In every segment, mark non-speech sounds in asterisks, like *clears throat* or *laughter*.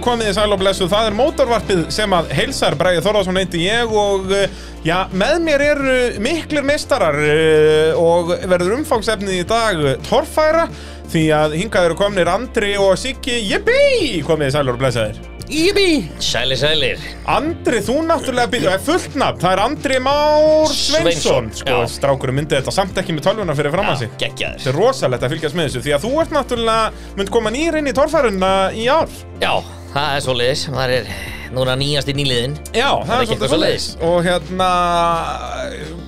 komið í sæl og blessu, það er mótorvarpið sem að heilsar Bræði Þorðarsson einti ég og eh, já, með mér eru miklir meistarar eh, og verður umfangsefnið í dag eh, torfæra því að hingað eru komnir Andri og Siggi, jippi, komið í sæl og blessu þér. Íbi Sælir, sælir Andri, þú náttúrulega byrja, það er fullt nafn, það er Andri Már Sveinsson, Sveinsson, sko, já. strákurinn myndi þetta samt ekki með tölvuna fyrir fram að sig. Þetta Gekkjaður er rosalegt að fylgjast með þessu, því að þú ert náttúrulega, mynd koma nýr inn í torfærunna í ár. Já, það er svoleiðis Það er núna nýjast í nýliðin Já, það er er ekki svolítið eitthvað svoleiðis svoleiðis. Og hérna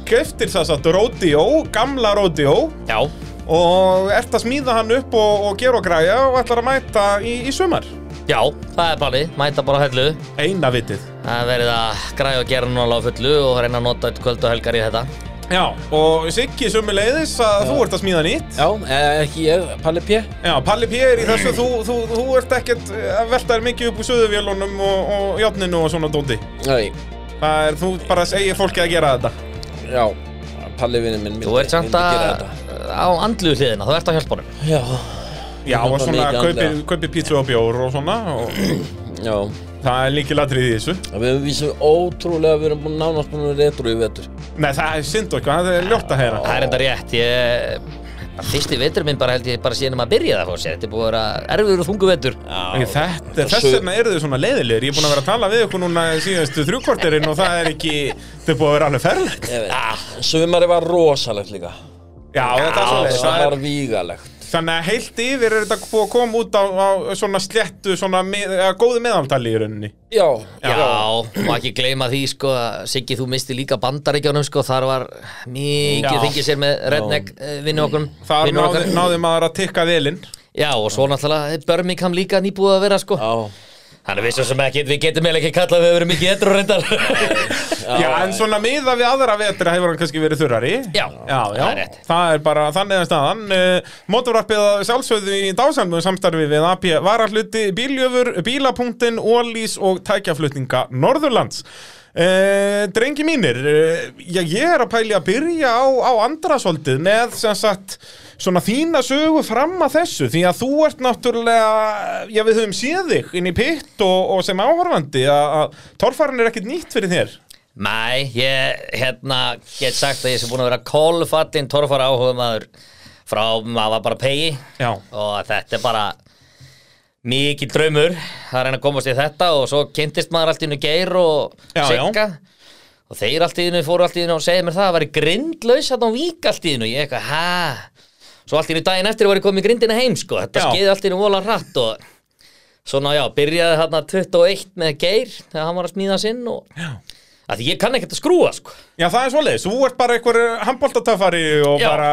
Keftir þess að Rodeo, gamla Rodeo Já, Og ert að smíða hann upp og, og gera og græja Og ætlar að mæta í, í sumar já, það er planið Mæta bara á hellu Eina vitið Það er verið að græja og gera núna alveg á fullu Og reyna að nota eitt kvöld og helgar í þetta Já, og Siggi sumi leiðis að þú ert að smíða nýtt Já, eh, ekki ég, Palli P Já, Palli P er í þessu Þú, þú, þú ert ekkert eh, að velta þér mikið upp úr söðuvélunum og, og játninu og svona dóti Nei, Það er, þú bara segir fólki að gera þetta já Palli vinnur minn myndi- Þú ert samt myndi að gera þetta. á andlu hliðina Þú ert á hjálpunum Já, Já, Ég og nota svona mikið kaupir, andlega. kaupir pítsu og bjór og svona og *clears throat* já Það er líkilatrið í þessu Við erum vísum ótrúlega, við erum búin nánast búin að vera retro í vetur Nei, það er synd okkur, það er ljótt að heyra Það er enda rétt Ég Fyrsti vetur minn bara held ég bara síðan um að byrja það fór sér Þetta er búið að vera erfiður og þungu vetur Ekki, Já, Þetta, þess vegna eru þau svona leiðilegir Ég er búin að vera að tala við ykkur núna síðanstu þrjúkorterinn og það er ekki, þau er búin að vera alveg ferlegt Já, ég veit Sumari Ah. var rosalegt líka þetta er Það svoleiðis. það var er, vígalegt Þannig að heilt yfir er þetta búið að koma út á, á svona sléttu, svona með, að góðu meðaltali í rauninni Já, Já, má ekki gleyma því sko að Siggi þú misti líka bandaríkjónum sko þar var mikið Já. fengið sér með redneck eh, vinnu okkur Þar náði, náði maður að tikka velinn Já og svo náttúrulega Birmingham líka nýbúið að vera sko já Þannig við svo sem ekki, við getum eiginlega ekki kallað að við verum mikið edru reyndar *laughs* Já, en svona miða við aðra vetra hefur hann kannski verið þurrari Já, já, já. það er rétt. Það er bara þannig að staðan uh, Mótorvarpið að sjálfsögðu í dásamlu samstarfi við AP varahluti bíljöfur, bílapunktin, ólís og tækjaflutninga Norðurlands Uh, drengi mínir, uh, já, ég er að pæli að byrja á, á andra svolítið með sem sagt svona þína sögu fram að þessu því að þú ert náttúrulega, já við höfum séð þig inn í pitt og, og sem áhorfandi að að torfæran er ekkert nýtt fyrir þér Nei, ég hérna get sagt að ég sé búin að vera kólfattinn torfara áhuga maður frá maður var bara pegi Já. og þetta er bara mikið draumur að reyna að komast í þetta og svo kynntist maður allt í hennu geir og Já, sigga og þeir allt í hennu fóru allt í hennu og segið mér það að væri grindlaus að á vík allt í hennu ég eitthvað, hæ? Svo allt í hennu daginn eftir var ég komið grindina heim sko þetta Já. skeiði allt í hennu vola hratt og svona já, byrjaði þarna 21 með geir þegar hann var að smíða sinn og já. að því ég kann ekkert að skrúa sko Já, það er svoleiðis, þú ert bara einhver handbóltatöfari og Já. bara,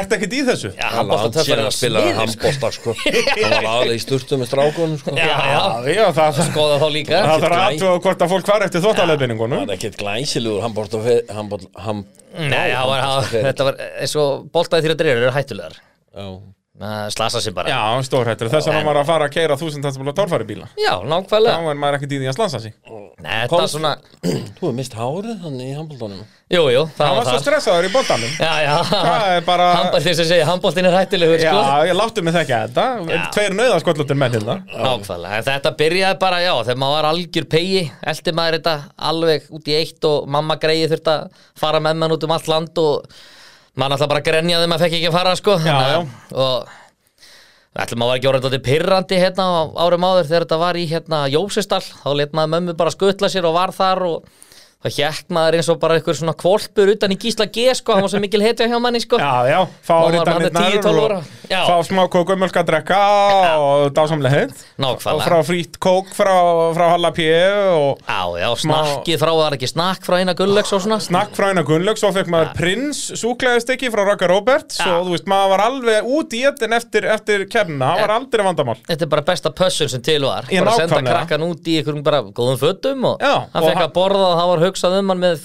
ert ekkert í þessu Já, Það hann var bótt langt að síðan að spila handbólta, sko Það var aðlega í sturtu með strákunum, sko Já, já, já, það, það, skoða þá líka það þarf að glæ. aðtuga hvort að fólk var eftir þóttalegbenningunum Það er ekkert glæsilegur handbólta handbólta, ham... Nei, það var, það- þetta var eins og boltaði þýra dreyrur eru hættulegar Já Það slasa sér bara Já, stórhættur, þess að hann En- var að fara að keira þúsundtastbúla torfari bíla Já, Þá nákvæmlega er maður ekkert í því að slansa sig Nei, þetta Komst- var svona Þú hefur mist hárið þannig í handbóltanum Jú, jú, Hann það var svo var það stressaður í bóltanum Já, já Það er bara, Handbólt þess að segja, handbóltin er hættulegur já, sko ég láttu mig þekka þetta Já. Tveir nauðaskotlutur menn hérna Nákvæmlega, en þetta byrjaði bara, já, þegar maður var algjör pegi Elti maður þetta alveg út í eitt og mamma greiði þurft að fara með mann út um allt land og maður alltaf bara grenjaði maður fekk ekki að fara, sko Já, já. Og ætlum maður var ekki orðið þetta pirrandi hérna á árum áður þegar þetta var í hérna Jósestall Þá let maður mömmu bara skutla sér og var þar og það hjekk maður eins og bara einhver svona kvolpur utan í Gísla G, sko Hann var svo mikil hetja hjá manni, sko Já, já, fá Mamma var bara rítanirnar og 10-12 ára. Já. fá smá kókumölk að drekka og dásamlega heitt Nákvæmlega. Og frá frýtt kók frá, frá Hallapé og Já, já, snakkið frá, var ekki snakk frá eina gullöks og svona Snakk frá eina Gunnlaug, svo fekk maður prins súklaðist ekki frá Raka Roberts Ja. og þú veist, maður var alveg út í ettin eftir, eftir kemna, það var aldrei vandamál Þetta er bara besta pössun sem til var Ég Bara að senda nákvæmlega. krakkan út í einhverjum bara góðum fötum og Já, hann og fekk hann- að borða og það var hugsað um hann með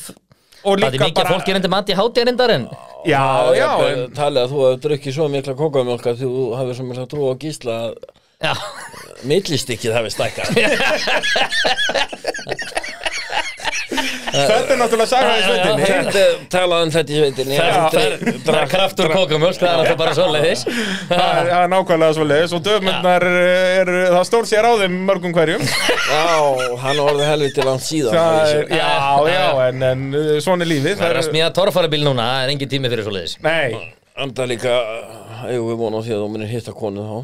og Það er mikið bara... fólk er endur mati hátíðarindar en Já, já, en, Talið að þú hefur drukkið svo mikla kókamjólk að þú hefur svo mikla trú á gísla að Já, millistykkið hefur stækkað Þetta er náttúrulega saga í sveitinni Já, Þetta talaði um þetta í sveitinni Það Þetta er- er- það er kraftur kókamjólk, það er alltaf bara svoleiðis Það er- það er nákvæmlega svo leiðis og döfmyndnar er, það stór sér á þeim mörgum hverjum Já, hann orði helviti langt síðan Það það er, vissi. já, já, en, en uh, svona er lífið Það er að Það er- smíða torfarabíl núna, það er engin tími fyrir svoleiðis Nei, Enda líka, uh, eigum við vona á því að þú munir hitta konu þá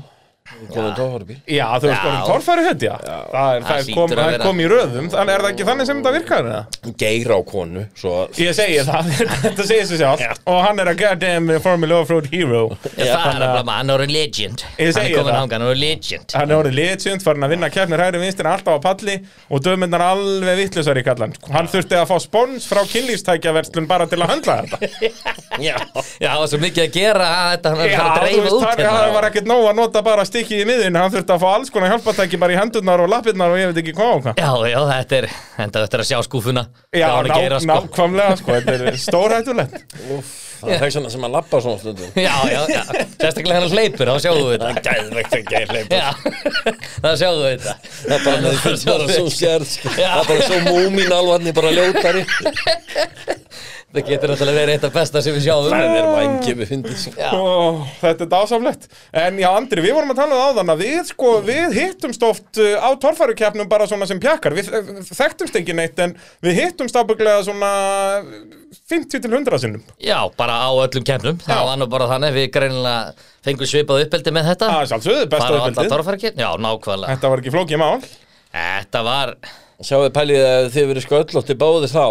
Konu tófarbíl já, þú veist orðin torfæri hönd, já Það, er, Það það hlýtur kom, að það vera. kom í röðum, þannig er það ekki þannig sem þetta virkar eða? Geir á konu, svo að Ég segi *laughs* það, þetta segir sig sjálf Og hann er að goddamn eh, Formula Offroad Hero Já, Það er bara, hann er orðin legend Ég Hann segi er komin það. hangað, hann er orðin legend Hann er orðið liðsjönd, farin að vinna keppnir hægri vinstin alltaf á palli og döfmyndar alveg vittlusar í kallan. Sko, Hann þurfti að fá spons frá kynlýfstækjaverslun bara til að höndla *laughs* þetta. Já, já, það var svo mikið að gera að þetta hann er Já, bara að þú dreifa veist, út hérna. hann, hann var ekkert nóg að nota bara stikkið í miðin, hann þurfti að fá alls konar hjálpatæki bara í hendurnar og lappirnar og ég veit ekki hvað og hvað. Já, já, þetta er, þetta þetta er að sjá skúfuna Já, Það var ná, að gera, sko. nákvæmlega, sko, þetta er stórhættulegt. Það er þess vegna sem að lappa svona stundum *laughs* Já, já, já, sérstaklega hennar hleypur, þá sjáum við þetta Gæðvegt að geir leip Já, *laughs* þá sjáum við þetta Það er bara, með, Það það er bara svo sérð sko. Já. Það er bara svo múmin alvarni bara ljótari Það getur náttúrulega verið eitt af besta sem við sjáum Það er vangi við fyndið sko. Já. Ó, þetta er dásamlegt. En já, Andri, við vorum að tala um áðan að við, sko, við hittumst oft uh, á torfærukeppnum bara svona sem pjakkar. Við uh, þekktumst ekki neitt, en við hittumst ábygglega svona 50-100 sinnum. Já, bara á öllum kemnum Það Já. var nú bara þannig, við greinilega fengum svipað uppeldi með þetta Það er sjálfsögðu, besta Ah. Bara á alla uppbyldið. torfarkin Já, nákvæmlega Þetta var ekki flókið mál. Þetta var, Sjáðu pælið að þið verið sko öll átti báði þá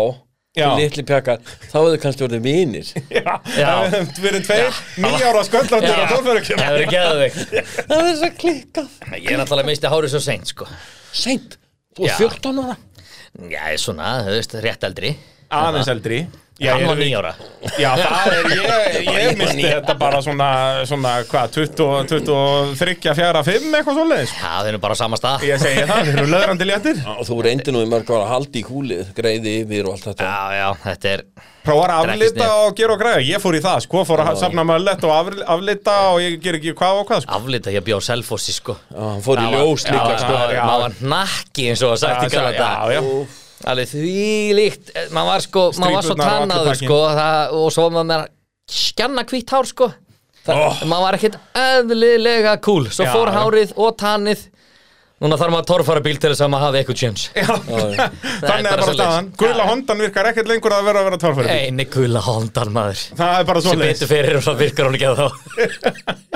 Já. Lítli pjakar, þá hefur þið kannski orðið *laughs* vinir *laughs* Já, Já. það hefum verið tveir, nýjára sköldláttir á Já. það torfærukeppnum. hefur *laughs* geðveikt Það er þess að klikka Ég er náttúrulega misti hárið svo seint, sko Seint, þú Já. er 14 ára Já, svona, þú veist, rétt eldri Aðeins eldri. Já, Hann var erum við- nýjára Já, það er, *laughs* ég, ég misti þetta bara svona, svona hvað, 20, 23, 4, 5, eitthvað svoleiðis. Já, þeir eru bara á sama stað Ég segi það, þeir eru löðrandi léttir. Og þú reyndi nú í mörg ára að halda í húlið, greiði yfir og allt þetta Já, já, þetta er Prófar að Þetta er ekki aflita sniðugt. og gera og græða. Ég fór í það, sko, fór að safna möllet og afl- aflita og ég ger ekki hvað og hvað, sko. aflita ég bjóð selfossi, sko Já, Hann fór í ljós já, líka já. sko. maður maður var nakki eins og var sagt í Já, gamla dag já, já. alveg þvílíkt maður var sko, maður var svo Strípurnar og allur tannaður pakkinn. sko það, og svo var maður skjanna hvítt hár sko það, *laughs* maður var ekkert eðlilega cool svo Já, fór já. hárið og tannið núna þarf maður að torfara bíl til þess að maður hafi eitthvað tjens Þannig er bara bara svoleiðis. staðan. Gula hondan virkar ekkert lengur að vera að vera tórfæri. eini gula hóndan maður Það er bara sem svoleiðis. betur fyrir og það virkar hún ekki að þá *laughs*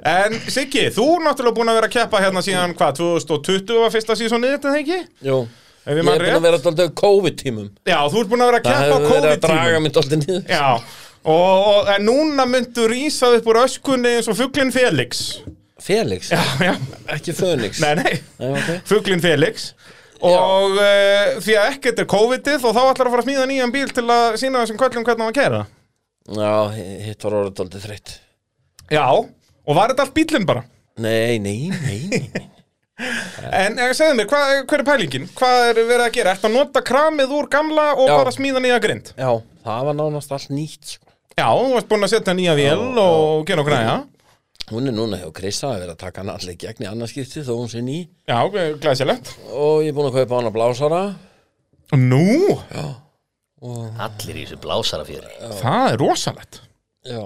En Siggi, þú er náttúrulega búin að vera að keppa hérna síðan, hvað, 2020 var fyrsta sísonið þetta, þegar ekki? Jú. Ef Ég ég er man búin rétt. að vera alltaf COVID-tímum Já, þú ert búin að vera að Það keppa á hefur verið að draga COVID-tímum. mér alltaf niður Já, og, og en núna myndu rísað upp úr öskunni eins og fugglinn Felix. *laughs* Felix, Já, já, ekki Fönix nei, nei. Nei, ok. Fuglinn Felix Og uh, því að ekkert er COVID-ið og þá ætlar að fara að smíða nýjan bíl til að sína þessum kvöllum hvernig hann var að kæra Já, hitt var orðið alltaf þreytt Já, og var þetta allt bílinn bara Nei, nei, nei, *laughs* nei. En eh, segðu mér, hva, hver er pælingin? Hvað er verið að gera? Ertu að nota kramið úr gamla og Já. bara smíða nýja grind? Já, það var nánast allt nýtt sko. Já, þú varst búin að setja nýja vél og gera og græja Hún er núna hjá Krissa að vera að taka hann allir gegn í annarskipti þó hún sé ný Já, eh, glæsilegt og ég er búin að kaupa hann að blásara Nú, allir í þessu blásara fyrir það er rosalegt Já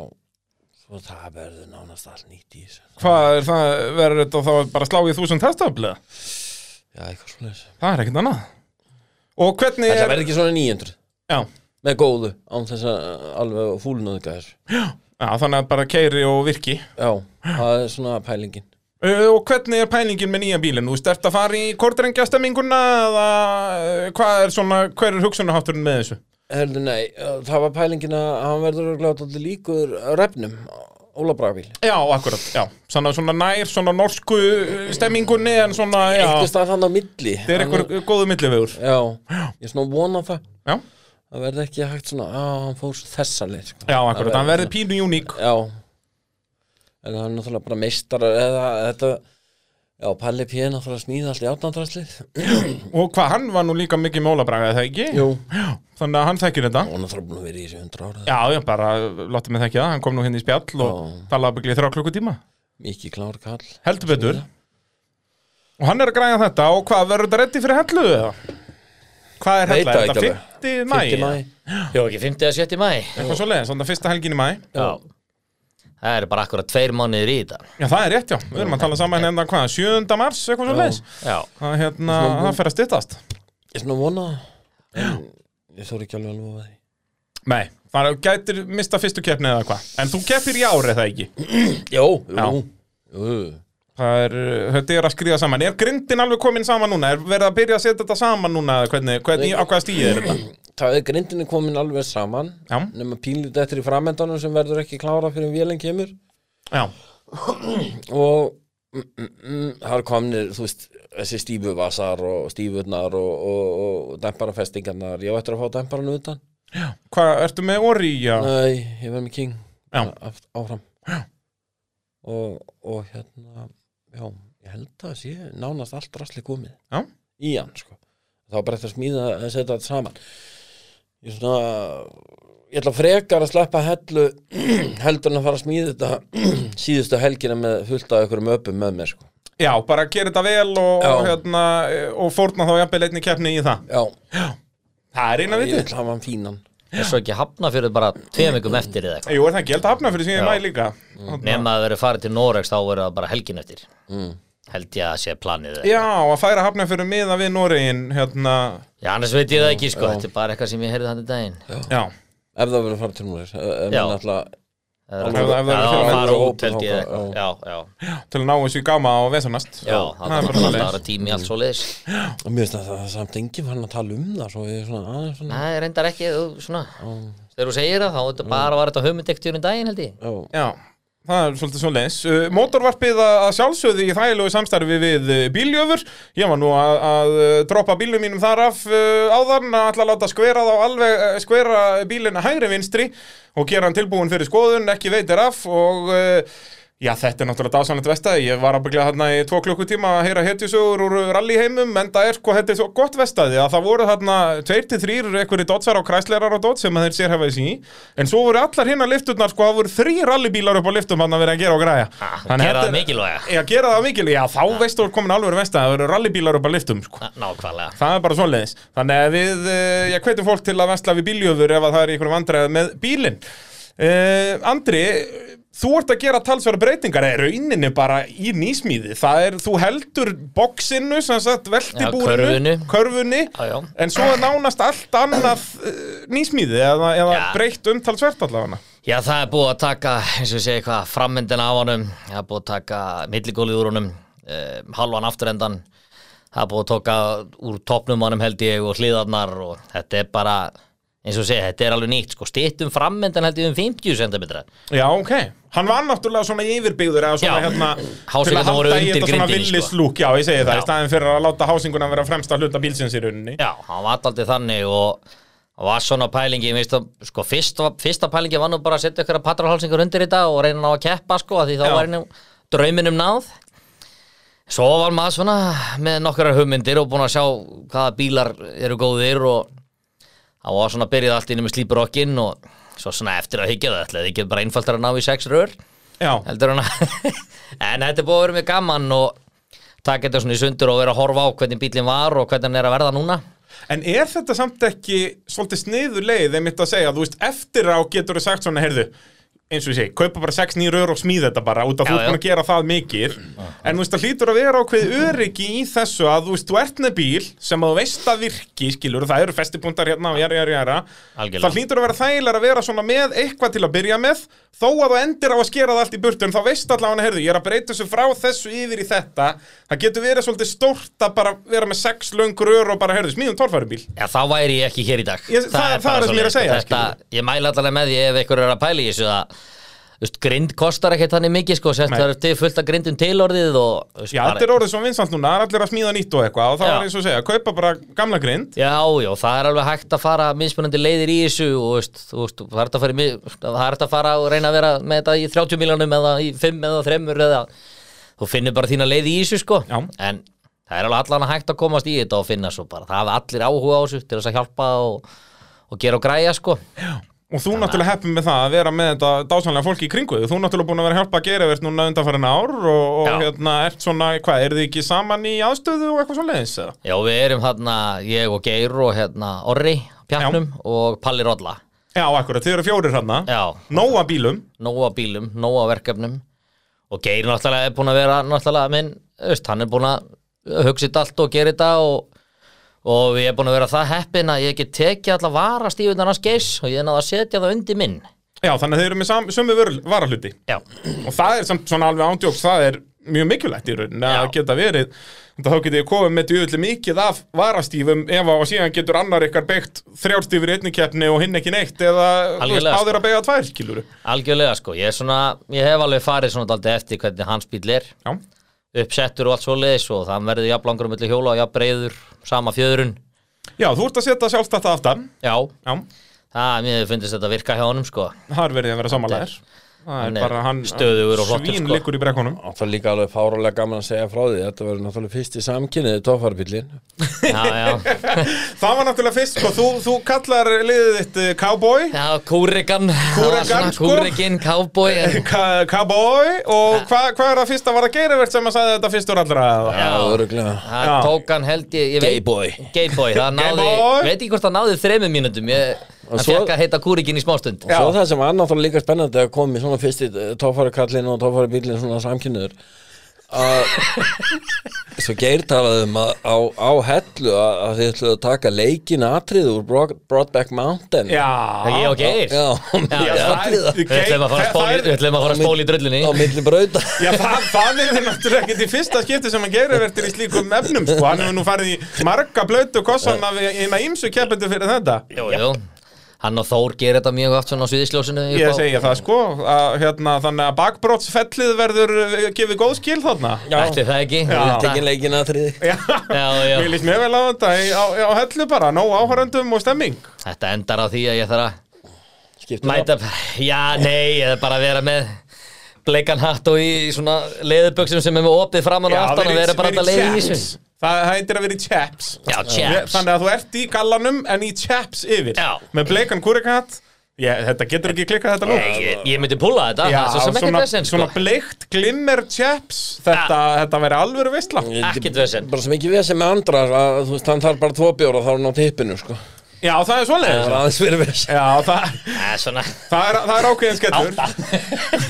Svo það verður nánast allt nýtt í þessu Hvað er það, verður þetta þá bara sláið þúsund hestaflega? Já, eitthvað svona Það er ekkert annað Og hvernig Það er, verður ekki svona 900 já, með góðu án þess að alveg fúlnöðga þessu já, þannig að bara keiri og virki Já, það er svona pælingin Uh, og hvernig er pælingin með nýja bílinn? Þú stert að fara í kortrengjastemminguna eða uh, hvað er svona, hver er hugsunahátturinn með þessu? Herðu, nei, uh, það var pælingin að hann verður örugglega dálítið líkur refnum Óla Bragabíl Já, akkurat, já. Svona, svona nær, svona norsku uh, stemmingunni en svona, já, Eitthvað stað hann á milli þetta er Hann einhver góðu millivegur. Já, ég svona vona það Já, Það verði ekki hægt svona, á, hann fór svo þessa leið sko. já, akkurat, hann verði pínu uník. Já En það er náttúrulega bara meistar eða þetta Já, Palli P. er náttúrulega að smíða allt í átnandraslið Og hvað, hann var nú líka mikið mólabræðið, það ekki? Jú Já, þannig að hann þekkir þetta. Og náttúrulega búin að vera í þessu hundra ára Já, já, bara láttu mig þekkja það, hann kom nú hérna í spjall og talaði byggli í þrjá klukkutíma. Mikið klár kall Heldur betur Og hann er að græja þetta og hvað verður þetta reddi fyrir hellu eða? Hvað er Veit hella? það Er þetta 50 mæ? Jó, ekki 50 ekki 50 mæ eða 70 mæ Eitthvað svo leiðin, svona fyrsta helgin í mæ Já. Það eru bara akkurat tveir mánuðir í þetta Já, það er rétt, já, við erum að tala saman hérna hvað, 7. mars, eitthvað svo leiðis Já, Það hérna, það fer að styttast Ég er svona að vona en Ég þóri ekki alveg alveg að lofa því Nei, það gætir mista fyrstu keppni eða hvað En þú keppir í ár, er það ekki? Jó, Já. jú, jú Það er, uh, þetta er að skriða saman Er grindin alveg komin saman núna? Er verið að byrja að setja þetta saman núna? eða Hvernig, hvernig, á hvaða stíði er þetta? Það er grindinni komin alveg saman Já. nema pínlítið eftir í framöndanum sem verður ekki klára fyrir en vélinn kemur Já, og mm, mm, mm, það er komnir, þú veist þessi stífu vasar og stífurnar og, og, og demparafestingarnar ég á eftir að fá demparan utan hvað, ertu með orri í að Nei, ég verð með King Já. Aft- áfram og, og hérna já, ég held að sé nánast allt rastli komið Já. í hann sko. þá er bara eftir að smíða að setja þetta saman ég svona ég ætla frekar að sleppa hellu *clears throat* heldur en að fara að smíða þetta *clears throat* síðustu helgina með fullt af ykkur möpum með mér sko. Já, bara gera þetta vel og, Já. og, hérna, og fórna þá jafnvel einni keppni í það já, Það er eina ég vitið vil hafa hann fínan er svo ekki hafna fyrir bara tveim vikum eftir eða eitthvað Jú, er það ekki held að hafna fyrir síðan í Já. mæ líka Hérna. Þarna- Nefn að það verið farið til Noregs þá verið það bara helgin eftir Held ég að sé planið eða- Já, að færa hafna fyrir miða við Noregin hérna, Já, annars veit ég það ekki sko, þetta er bara eitthvað sem ég heyrði hann í daginn Já, ef það verður að fara til núleir ef Já. menn alltaf Það Ef það- ef það er er að fyrir fara menn- út held ég eða hópa, eitthvað Já, já, til að ná þessu í gama og vesernast já, það er bara Mm. það svoleiðis. var tími allt svo leiðis og mér finnst að það er samt enginn fann að tala um það svo ég er svona aðeins svona Nei, reyndar ekki, þú, svona Já. Þegar þú segir það, þá þetta bara var þetta hugmyndektur um daginn held ég Já, Já, það er svolítið svo leins uh, Mótorvarpið að að sjálfsögðu í þægilegu samstarfi við uh, bíljöfur Ég var nú að, að uh, droppa bílum mínum þar af uh, áðan að ætla að láta skvera þá alveg uh, skvera bílina hægri vinstri og gera hann tilbúin fyrir skoðun, ekki veitir af og uh, Já, þetta er náttúrulega dásanlegt vestæði, ég var ábygglega hérna í tvo klukkutíma að heyra hetjusögur úr rallyheimum, en það er sko, þetta er svo gott vestæði að það voru hérna tveir til þrýr einhverju dotsar og kræslerar og dots sem að þeir sér hafa þessi í, en svo voru allar hinna lifturnar sko, það voru þrý rallybílar upp á liftum hann að vera að gera og græja. Ah, Þannig gera þetta það er- mikilvæga. Ah. Já, gera það mikil, já, þá veistu þú er komin alveg vestæði, það voru rallybílar upp á liftum, sko. Ná- Nákvæmlega Það er bara svoleiðis. Þannig að við, eh, ég hveti fólk til að vestla við bíljöfur ef að það er í einhverjum vandræði með bílinn. Uh, Andri, þú ert að gera talsverða breytingar eða rauninni bara í nýsmíði. Það er, þú heldur boksinu, sem sagt, veltibúrinu, körfunni. körfunni, Já, já. en svo er nánast allt annað uh, nýsmíði eða, eða Já. breytt um talsvert allavega. Já, það er búið að taka, eins og ég segi hvað, frammyndin af honum, það er búið að taka milligólið úr honum, eh, halvan afturendan, það er búið að taka úr topnum honum held ég og hliðarnar og þetta er bara, eins og ég segi, þetta er alveg nýtt, sko, stýttum frammyndin held ég um 50 cm. Já, ok. Hann var náttúrulega svona yfirbyggður eða svona Já. hérna til Hásingarnar að voru halda í undir þetta svona grindinni, sko. villislúk, já ég segi það, Já. í staðin fyrir að láta hásinguna vera fremsta hluta bílsins í rauninni. Já, hann var aldrei þannig og og var svona pælingi, ég veist að, sko, fyrst, var- fyrsta pælingi var nú bara að setja ykkur að patralhalsingur undir í dag og reyna að ná að keppa, sko, af því þá Já. var henni drauminum náð. Svo var maður svona með nokkrar hugmyndir og búin að sjá hvaða bílar eru góðir og það var svona byrjað allt inni með slíprokkin og svo svona eftir að higgja það ætlaði ekki bara einfaldar að ná í sex rör Já, heldur hann að *laughs* en þetta er búið að vera mjög gaman og taka þetta svona í sundur og vera að horfa á hvernig bílinn var og hvernig hann er að verða núna en er þetta samt ekki svolítið sniður leið, þeim mitt að segja, þú veist, eftir á getur þú sagt svona, heyrðu, eins og ég segi, kaupa bara 6 nýjur ör og smíða þetta bara, út af þú Já, ert búin já. að gera það mikið, en þú veist, það hlýtur að vera ákveð öryggi í þessu að, þú veist, þú ert með bíl sem að þú veist að virki, skilur, það eru festipunktar hérna og jæra, jæra, jæra, Algjörlega. það hlýtur að vera þægilega að vera svona með eitthvað til að byrja með, þó að þú endir á að skera það allt í burtu, en þá veist allavega, heyrðu, ég er að breyta þessu frá þessu yfir í þetta, það getur verið svolítið stórt að bara vera með sex löngur ör og bara, heyrðu, smíðum torfærubíl. Já, þá væri ég ekki hér í dag Ég- það- það bara er það sem ég er að svoleiðis. segja, þetta, Ég mæla allavega með því ef ykkur er að pæla í þessu að þú veist, grind kostar ekkert þannig mikið sko, sérst Nei. það eru til fullt að grindum tilorðið og þú veist, Já, bara- þetta er orðið svo vinsalt núna, það er allir að smíða nýtt og eitthvað og það Já. var eins og að segja, kaupa bara gamla grind Já, já, það er alveg hægt að fara mismunandi leiðir í þessu og þú veist, þú veist, það er hægt að fara, í mi- það er hægt að fara og reyna að vera með þetta í 30 miljónum eða í 5 eða 3 eða þú finnir bara þína leið í þessu sko Já. en það er alveg allan að hægt að komast í þetta og finna svo bara, það hafa allir áhuga á þessu til þess að hjálpa og, og gera og græja sko Og þú náttúrulega heppin með það að vera með þetta dásanlega fólki í kringu þig. Þú náttúrulega búin að vera að hjálpa að gera verð núna undanfærin ár og, og Já. hérna, ert svona, hvað, er þið ekki saman í aðstöðu og eitthvað svona leiðis? Já, við erum hérna, ég og Geir og hérna Orri, Pjarnum og Palli Rolla Já, akkurat, þið eru fjórir hérna. Já, Nóa bílum. nóga bílum, nóga verkefnum og Geir náttúrulega er búin að vera náttúrulega minn, þú veist, hann er búin að hugsa þetta allt og gera þetta og, og ég er búin að vera það heppin að ég get tekið allar varastífunar hans Geirs og ég er náða að setja það undir minn Já, þannig að þið eru með sam, sömu vörl- varahluti. Já, Og það er samt svona alveg ándjóks, það er mjög mikilvægt í raunin að Já. geta verið. Þetta þá getið þið komið með djúvillig mikið af varastífum ef að og síðan getur annar ykkar beigt þrjárstífur í einni keppni og hinn ekki neitt eða þú veist, Algjörlega, sko. báðir að beigja tvær, skiluru. algjörlega sko, ég er svona, ég hef alveg farið svona daldið eftir hvernig hans bíl er Já, uppsettur og allt svoleiðis og þann verður jafn langur um milli hjóla og jafn breiður, sama fjöðrun Já, þú ert að setja sjálfstætt aftan. Já, Já, það, mér finnst þetta virka hjá honum sko það er verið að vera samanlegar Það er hann er bara hann stöðugur og flottur, Svín sko. liggur í brekkunum Það er líka alveg fárálega gaman að segja frá því Þetta verður náttúrulega fyrst í samkynniði tófarbílin Já, já, Það var náttúrulega fyrst, sko, þú, þú kallar liðið þitt eh, cowboy já, kúrikan Kúrekan, sko. Kúrikin, cowboy en- Ka- Cowboy og hvað hva er það fyrsta var að gera verð sem að sagði þetta fyrstur allra eða? Já. Já, öruglega Það Já. tók hann held ég, ég Gay veit- boy Gayboy, það náði, boy. veit ekki hvort það náði þremur mínútum, ég, Og hann svo- fekk að heita kúrikinn í smástund Svo það sem var náttúrulega líka spennandi að koma í svona fyrst í tófarukallin og tófarubílin svona samkynniður að *laughs* svo geir talaði um að á, á hellu að, að þið ætluðu að taka leikin atrið úr Broad, Broadback Mountain Já Ég og Geir Já, Já, Já, já, það- atrið Við ætlum að fara að spóla í- Það við er- ætlum að fara að spóla í drullunni á milli brauta Já, það, það er náttúrulega ekkert í fyrsta skipti sem hann gerir verður í slíkum efnum, sko Hann hefur nú farið í marga blötu kossana við eina ímsu keppendur fyrir þetta Jú, jú, hann og Þór gerir þetta mjög oft svona á sviðisljósinu upp Ég á- segja það, sko að, hérna, Þannig að bakbrotsfellið verður eh, gefið góð skil þarna Ætli það ekki Já. tekin leikin atrið Já, Já, já. mér líst mjög vel á þetta í- á, á hellu bara, nóg áhöröndum og stemming Þetta endar á því að ég þarf að Skiptir mæta Já, nei, ég þarf bara að vera með bleikan hatt og í svona leðuböksum sem er með opið framan og aftan og vera bara verið alltaf leið í chaps. þessu Það það heitir að vera í chaps Já, chaps. Þannig að þú ert í gallanum en í chaps yfir Já. Með bleikan kúrikat Já, þetta getur ekki klikkað þetta nú Ég, ég myndi púla þetta, Já, það er svo sem ekkert svona, vesend sko. svona bleikt glimmer chaps Þetta, þetta verið alvöru veistla Ekkert vesen. Bara sem ekki vesen með andra að, Þú veist, hann þarf bara tvo bjóra þá er hann á tippinu sko. Já, það er svoleiðis Það er aðeins fyrir vesen Já, það, Það er svona það, er, það er ákveðin skellur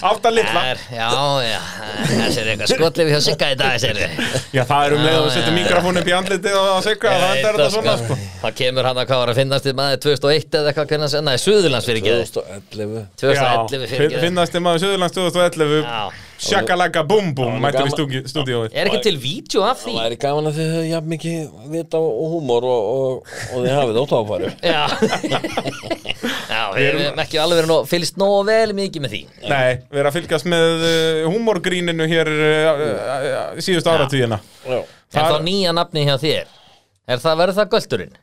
Átta litla Það er, já, já, þessi er eitthvað skotlið hjá Sigga í dag, þessi er Já, það er um leið að við Já, setjum já. mikrofónum í andlitið og það segja að þetta er þetta svona sko. Það kemur hann að hvað var að finnast í maður 2001 eða eitthvað hvernig að segja, nei, Suðurlands fyrir ekki 2011 Já, 2011 fyrir ekki finnast þið maður Suðurlands 2011 Já. Sjakalaka búm búm Já, mættir í gaman- stúki- stúdíóið Er ekki til vídeo af því? Það væri gaman að þið höfðu jafn mikið vita og húmor og, og, og þið hafið ótáfæri *laughs* Já Já, við erum ekki alveg verið nóg, fylgst nóg vel mikið með því Nei, við erum að fylgjast með uh, humorgríninu hér uh, uh, uh, síðust áratvíðina En Það- þá nýja nafni hjá þér Er það, verður það Göldurinn?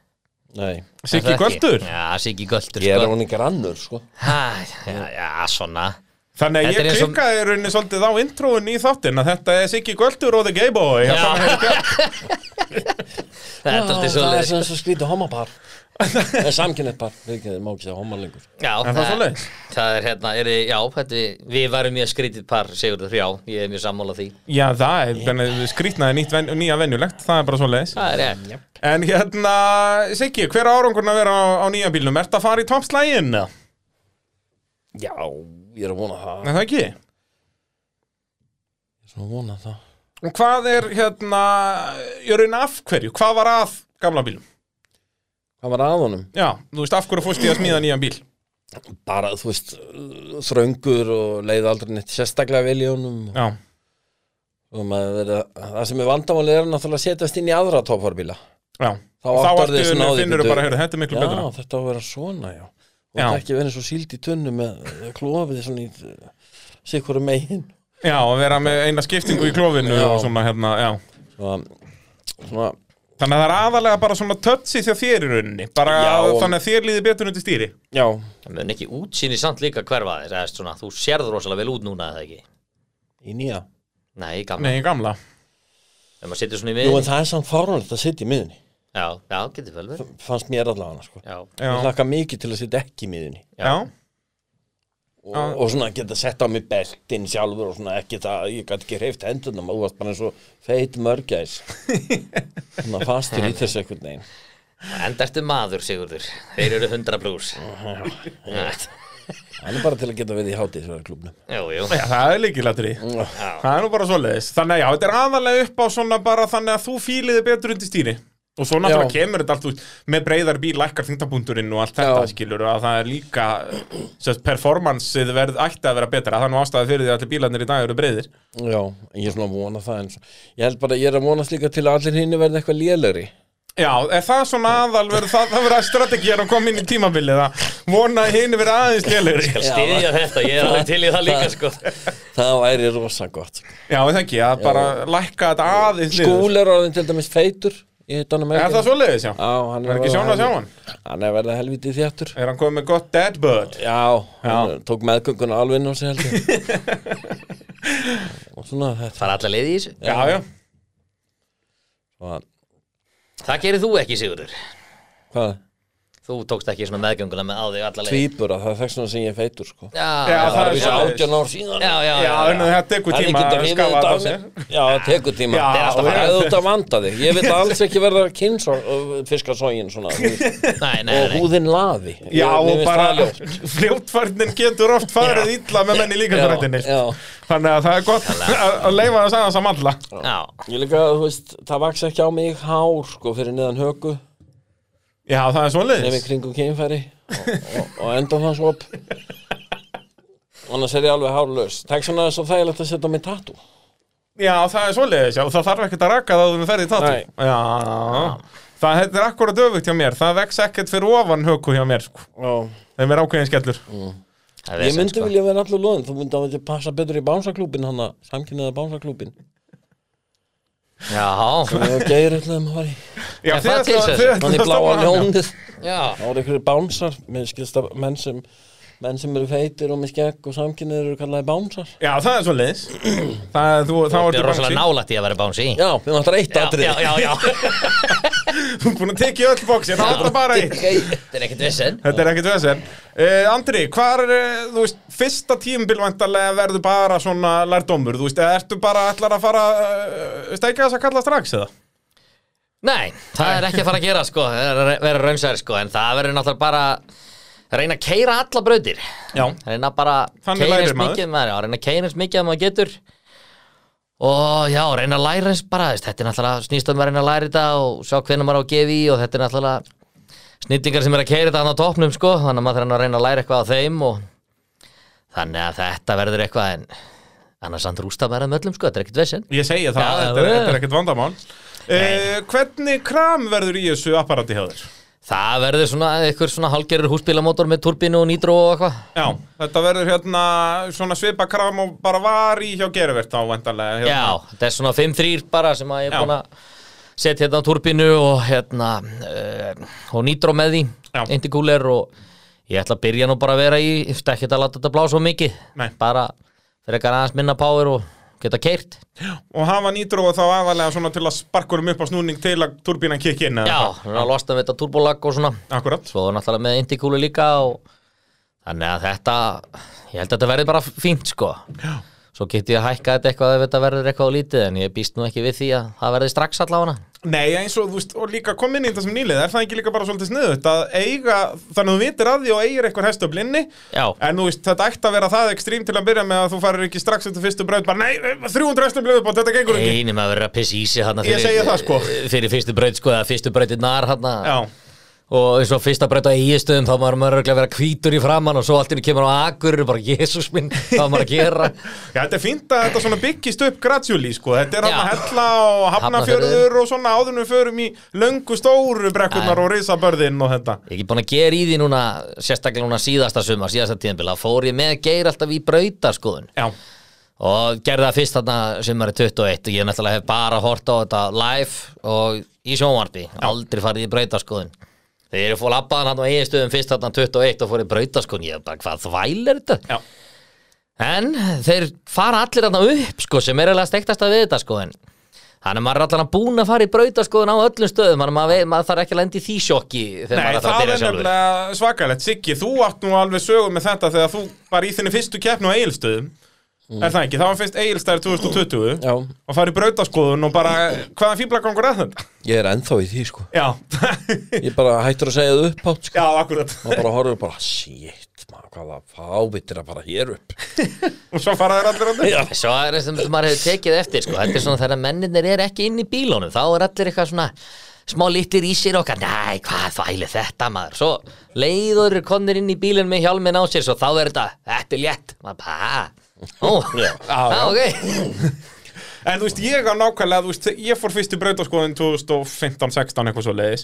Nei, Er Siggi það ekki? Göldur Já, Siggi Göldur, ég er sko hún í grannur sko Hæ, Já, já, svona Þannig að Þetta er ég eins og- klikkaði og... rauninni svolítið á introun í þáttin að þetta er Siggi Göldur og The Gay Boy Já. *laughs* Það er alltaf svo Það er sem svo skrítið homapar Það er samkynnið par, við má ekki segja homar lengur Já, Er það svoleiðis? það er hérna, er, já, þetta, við varum mjög skrítið par, segur þú, já, ég er mjög sammála því Já, það er þannig, skrýtnaði nýtt ven, nýja venjulegt, það er bara svoleiðis Það er rétt Já, En hérna, Siggi, hver árangurinn að vera á, á nýja bílnum? Ert að fara í toppslægin? Nei, Já, ég er að vona það það ekki Svo vona það Og hvað er hérna, ég raun af hverju, hvað var að gamla bílum? Hvað var að honum? Já, þú veist af hverju fórst ég að smíða nýjan bíl? Bara, þú veist, þröngur og leið aldrei neitt sérstaklega vel í honum og, Já, og maður verið að Það sem er vandamálið er náttúrulega að setjast inn í aðra tófarbíla já Þá áttar þig ertu- svona á því, finnurðu bíddu. bara, heyrðu, þetta er miklu Já, betra þetta á að vera svona, já Og Já. það ekki verið svo síld í tunnu með eh, klofið svona í eh, sikkur um megin Já, að vera með eina skiptingu í klófinu Já. og svona hérna, já Svona, svona Þannig að það er aðalega bara svona tötsi þjá þér í rauninni Bara Já, að, og- þannig að þér líði betur undir stýri Já, það mun ekki útsýni samt líka hverfa þér, eða svona, þú sérð rosalega vel út núna, eða ekki í nýja Nei, gamla, Nei, gamla ef maður sittur svona í Jú, miðin en það er samt fáránlegt að sitja í miðunni já, já, getur vel verið fannst mér allavega sko. Já, ég Já, hlakka mikið til að setja ekki í miðunni já, og, Já. og svona geta sett á mig beltin sjálfur og svona ekki það, ég gæti ekki hreift hendunum og þú varst bara eins og feit *laughs* mörgæs svona fastur í þessu einhvern veginn enda ertu maður, Sigurður Þeir eru 100 brús Jú, hann er bara til að geta verið í hátíðsverðarklubnum jú já, það er líkilatri Já, Það er nú bara svoleiðis Þannig að já, þetta er aðalega upp á svona bara þannig að þú fíliði betur undir stýri Og svo náttúrulega Já. kemur þetta allt út með breyðar bíl, lækkar þingtabúndurinn og allt þetta já. Já. skilur að það er líka sérst, performanceið verð ætti að vera betra það er nú ástæði fyrir því að allir bílarnir í dag eru breyðir já, en ég er svona að vona það eins og ég held bara, ég er að vonast líka til að allir hinn verði eitthvað lélegri Já, er það svona aðal verður það, það verður að strategið að koma inn í tímabilið að vona að hinn verið aðeins lélegri skal styðja þetta, ég er alveg til í það líka, sko það væri rosa gott Já, er það ekki, að bara lækka þetta aðeins niður. skúl er orðin til dæmis feitur ég hitt honum Er það svoleiðis, já? Já, hann Er ekki verið sjón að sjá hann? helvi- hann er verið helvítið þjáttur Er hann komið með gott dead bird? Já, hann tók meðgönguna alveg inn á sig held ég Og svona þetta Fara allar leið í þessu Já, já, var, Það gerir þú ekki, Sigurður Hvað? Þú tókst ekki svona meðgönguna með á þig allar leið Tvíbur að það er þess vegna sem ég er feitur sko Já, Já, það já, er Það er svo- svo átján ár síðan já, já, já, en það tekur Hefði tíma getað að rifið skafa þetta þetta af sér mér. Já, það tekur tíma Já, Það er alltaf og- hægðu út að vanda þig Ég vil alls ekki verða kynns fiska sógin *laughs* svona þú veist, Nei, nei, og nei húðin laði Ég- Já, mér og finnst bara það ljótt. fljóttfærnin getur oft farið illa með menni líka þrættinni Já, já Þannig að það er gott að að leifa þess aðeins að malla Já, Ég líka, þú veist, það vaks ekki á mig hár sko fyrir niðan höku Já, það er nefnir svoleiðis kringum kynfæri og, og, og enda þann svo upp annars er ég alveg hárlaus það er svona svo þægilegt að setja á mig tattu Já, það er svoleiðis, já, og það þarf ekkert að rakka það við ferði í tattu Nei. Já, það þetta er akkurat öfugt hjá mér Það vex ekkert fyrir ofan höku hjá mér sko. Þeim er ákveðin skellur Mm. það er ég vesen, myndi sko. vilja vera allur loðin þú myndi að myndi passa betur í bánsaklúbin hann að samkynnaða bánsaklúbin Já, og geir öll að maður í Já, Er þið það til ætla- þess? þið ætla hann í að bláa stofna hann, já. ljónið já þá eru ykkur bánsar mér skilst að menn sem menn sem eru feitir og með skegg og samkynnaður eru kallaði bánsar Já, það er svoleiðis Það er, þú, þá Ég ertu er rosalega bánsi nálætt í að vera bánsi já, við vantar eitt Já, atrið já, já, já Þú er búin að tekið öll bóksi, það er bara eitt Þetta er ekkert vissinn Þetta er ekkert vesen. Uh, Andri, hvað er, eh, þú veist, fyrsta tímbilvæntalega verður bara svona lærdómur, þú veist, eða ertu bara ætlar að fara, uh, steikja þess að kalla strax eða? Nei, það er ekki að fara að gera sko Það er að vera raumsæri sko En það verður náttúrulega bara að reyna að keira alla brautir Já. Reyna bara Þannig keyra lærir eins maður. mikið maður Já, reyna að keira eins mikið að maður getur Og já, reyna að læra eins bara þess, Þetta er náttúrulega snýst um að reyna að læra þetta Og sjá hvernig maður á að gefa í Og þetta er náttúrulega snillingar sem er að keira þetta hann á topnum sko Þannig að maður þarf að reyna að læra eitthvað á þeim og... Þannig að þetta verður eitthvað en annars samt rústa maður að möllum sko, þetta er ekkert vesinn Ég segja það, Já, þetta, er, já. þetta er ekkert vandamál. Uh, hvernig kram verður í þessu apparati hjá þér? Það verður svona eitthvað svona hálgerur húsbílamótor með turbínu og nýtró og eitthvað Já, þetta verður hérna svona svipa kram og bara var í hjá Gerivert á vendanlega. Hérna. Já, þetta er svona 5-3 bara sem að Já. ég er búin að setja hérna á turbínu og hérna uh, og nýtró með því, Já. indikúler og ég ætla að byrja nú bara að vera í ég ætla ekki að láta þetta blása svo mikið Nei. bara fyrir eitthvað aðeins minna power og geta keirt Og hafa nýtrú og þá aðalega svona til að sparkurum upp á snúning til að turbínan kikki inn. eða Já, hvað? svona losna við þetta turbolag og svona Akkúrat. svo náttúrulega með indikúlu líka og þannig að þetta ég held að þetta verði bara fínt sko Já. svo get ég að hækka þetta eitthvað ef þetta verður eitthvað á lítið en ég býst nú ekki við því að það verði strax allavega Nei, eins og þú veist, og líka kom inn í þetta sem nýlið, er það ekki líka bara svolítið sniðut að eiga, þannig að þú vitir að því og eigir eitthvað hestöfl inni, Já, en þú veist, þetta ætti að vera það ekstrím til að byrja með að þú farir ekki strax eftir fyrstu braut, bara nei, 300 hestöfl upp og þetta gengur ekki. einum að vera að pissa í sig þarna Ég segi það, sko. fyrir fyrstu braut sko, eða fyrstu brautir nar þarna Já, og eins og fyrsta braut á eigistöðum þá var maður örugglega að vera hvítur í framann og svo allt inni kemur á agur bara jésus minn, hvað var maður að gera Já, þetta er fínt að þetta svona byggist upp gradually, sko, þetta er hann að Já. hella og hafnafjörður Hafnarfjörður. og svona áður en við förum í löngu stóru brekkurnar og risabörðin og þetta. Ég er ekki búin að gera í því núna sérstaklega núna síðasta sumar, síðasta tíðanbila fór ég með geir alltaf í brautarskoðun Já, og gerði það fyrst þarna sumari 21 og ég náttúrulega hef bara hort á þetta live og í sjónvarpi aldrei farið í brautaskoðun þegar ég fór labbaðan hann á eigin stöðum fyrst þarna 21 og fór í brautaskoðun ég er bara hvað þvæl er þetta já, en þeir fara allir þarna upp sko sem er eiginlega stektast að við þetta sko en það Þannig að maður er allan að búin að fara í brautaskoðun á öllum stöðum Þannig að maður, veit- maður þarf ekki að lenda í því sjokki þegar Nei, maður ætlar það er að byrja sjálfur nefnilega svakalegt Siggi, þú átt nú alveg sögum með þetta þegar þú var í þinni fyrstu keppnu á Egilstöðum Er það ekki? Það var fyrst Egilstæður 2020 Já, og farið brautaskoðun og bara hvaðan fýblagangur er þetta? ég er ennþá í því sko Já, Ég bara hættur að segja það upp átt sko *laughs* já, akkurat Maður bara horfður bara, shit, maður hvað það fávitir að fara hér upp *laughs* Og svo fara þær allir andur Já, Svo er það sem maður hefur tekið eftir sko. Þetta er svona þegar menninir er ekki inn í bílónum Þá er allir eitthvað svona smá litlir í sér okkar Nei, hvað þvæli þetta maður Svo leiður konir inn í bílun með hjálmin á sér Svo þá er þetta, þetta er létt Maður bara, "Ha? ó, *laughs* já, já. ok En þú veist, ég á nákvæmlega, þú veist, ég fór fyrst í brautaskoðun 2015-16 eitthvað svo leiðis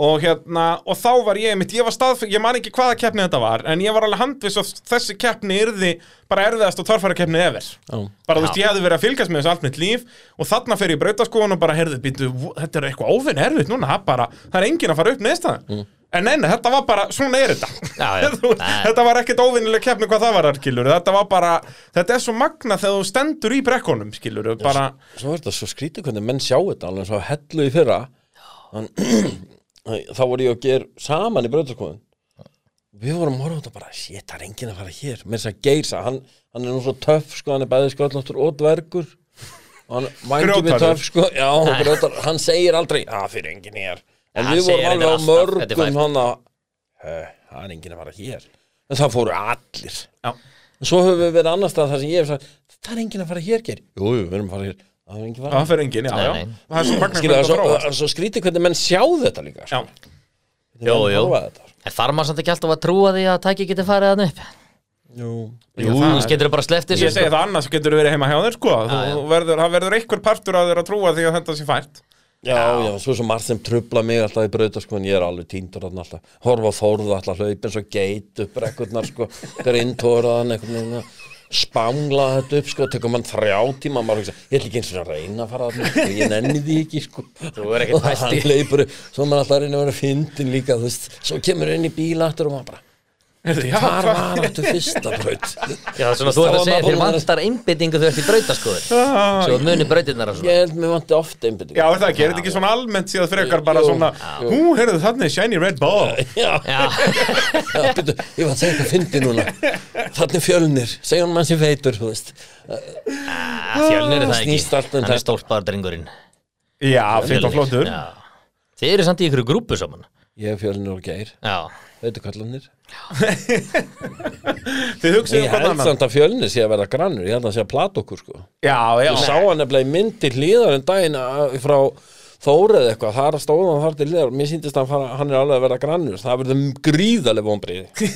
og hérna, og þá var ég mitt, ég var stað, ég man ekki hvaða keppni þetta var en ég var alveg handviss að þessi keppni yrði bara erfiðast og torfæra keppni efer Já. bara þú veist, ég hefði verið að fylgjast með þessu allt mitt líf og þarna fer ég í brautaskoðun og bara heyrðu, býtu, þetta er eitthvað óvinn erfitt núna, það bara, það er enginn að fara upp neðstaðan mm. En neina, þetta var bara, svona er þetta Já, já. *laughs* Þú hérna veist, Nei. Þetta var ekkert óvinnileg keppni hvað það var skilur Þetta var bara, þetta er svo magna þegar þú stendur í brekkunum skilur bara, Svo er þetta svo skrítið hvernig menn sjá þetta alveg svo hellu í fyrra Þann, *clears throat* Þá voru ég og ger saman í bröðarskoðun Við vorum að horfa á þetta bara, shit, það er enginn að fara hér Mér þess að geisa, hann, hann er nú svo töff sko, hann er bæði sköllóttur og dvergur og hann mængi við Grjótarður. töff sko, já, *laughs* og grjótar, hann segir aldrei að fyrir enginn hér En Hann við segir vorum alveg á reyndar alltaf, þetta er mörgum fært. hann að "Eh, það er enginn að fara hér En það fóru allir já En Svo höfum við verið annar stað þar sem ég hef sagt Það er enginn að fara hér, Geir Jú, jú, við erum að fara hér Það er enginn Já, að fara það fer enginn, já, Nei, já nei. Það er svo magna Skilja, hvernig það það er þróast svo, svo skrítið hvernig menn sjá þetta líka sko. Já, Jú, jú. Þetta. En þarf maður samt ekki alltaf að trúa því að tæki geti farið hann upp Jú. Jú, Þú getur bara sleft ég segi það annars getur verið heima hjá þér sko Já, já. Þú verður, það verður einhver partur að þér að trúa því að þetta sé fært Já, já, svo er svo margt sem trubla mig alltaf í brauta sko, en ég er alveg týndur þarna alltaf horfa á þórða alltaf hlaup eins og geit upp rekkurnar sko, grindtóraðan einhvern veginn að spangla þetta upp sko, tekur mann þrjá tíma maður hugsa, ég ætla ekki eins og að reyna að fara þarna sko, ég nenni því ekki sko Þú er ekkert Og hætt í- hann hleypur, svo er maður alltaf að reyna að vera fyndin líka, þú veist, svo kemur inn í bíl aftur og maður bara, *laughs* Já, hvar hvað- var þetta fyrsta braut Já, svona, þú ert að Þá var segja maður þér búinn að- vantar einbyttingu þau ert í brautaskoður Já, Svo muni brautirnar og svona Ég held mér vanti oft einbytting *laughs* Já, er það ekki, er þetta ekki svona almennt síðan frekar bara Jú, svona já. Hú, heyrðu þannig, shiny red ball Já, Já, já byrju, ég var að segja eitthvað fyndi núna Þannig er fjölnir, segja hann mann sem veitur, þú veist fjölnir er það ekki Snýst allt um Hann er þetta. stólpaður drengurinn Já, fyrir og flottur Já. Þið eru samt í ykkur grúpu saman Ég er fjölnir og geir, Já, veitur kallanir Þið hugsið um Ég hvað held annan samt að fjölnir sé að vera grannur, ég held að sé að plata okkur sko *laughs* Já, já, Ég sá hann nefnilega í myndi hlýðar en daginn að- frá Þórið eitthvað, þar stóð hann þar til hlýðar Mér síndist að hann fara- hann er alveg að vera grannur Það verður gríðaleg vonbreiði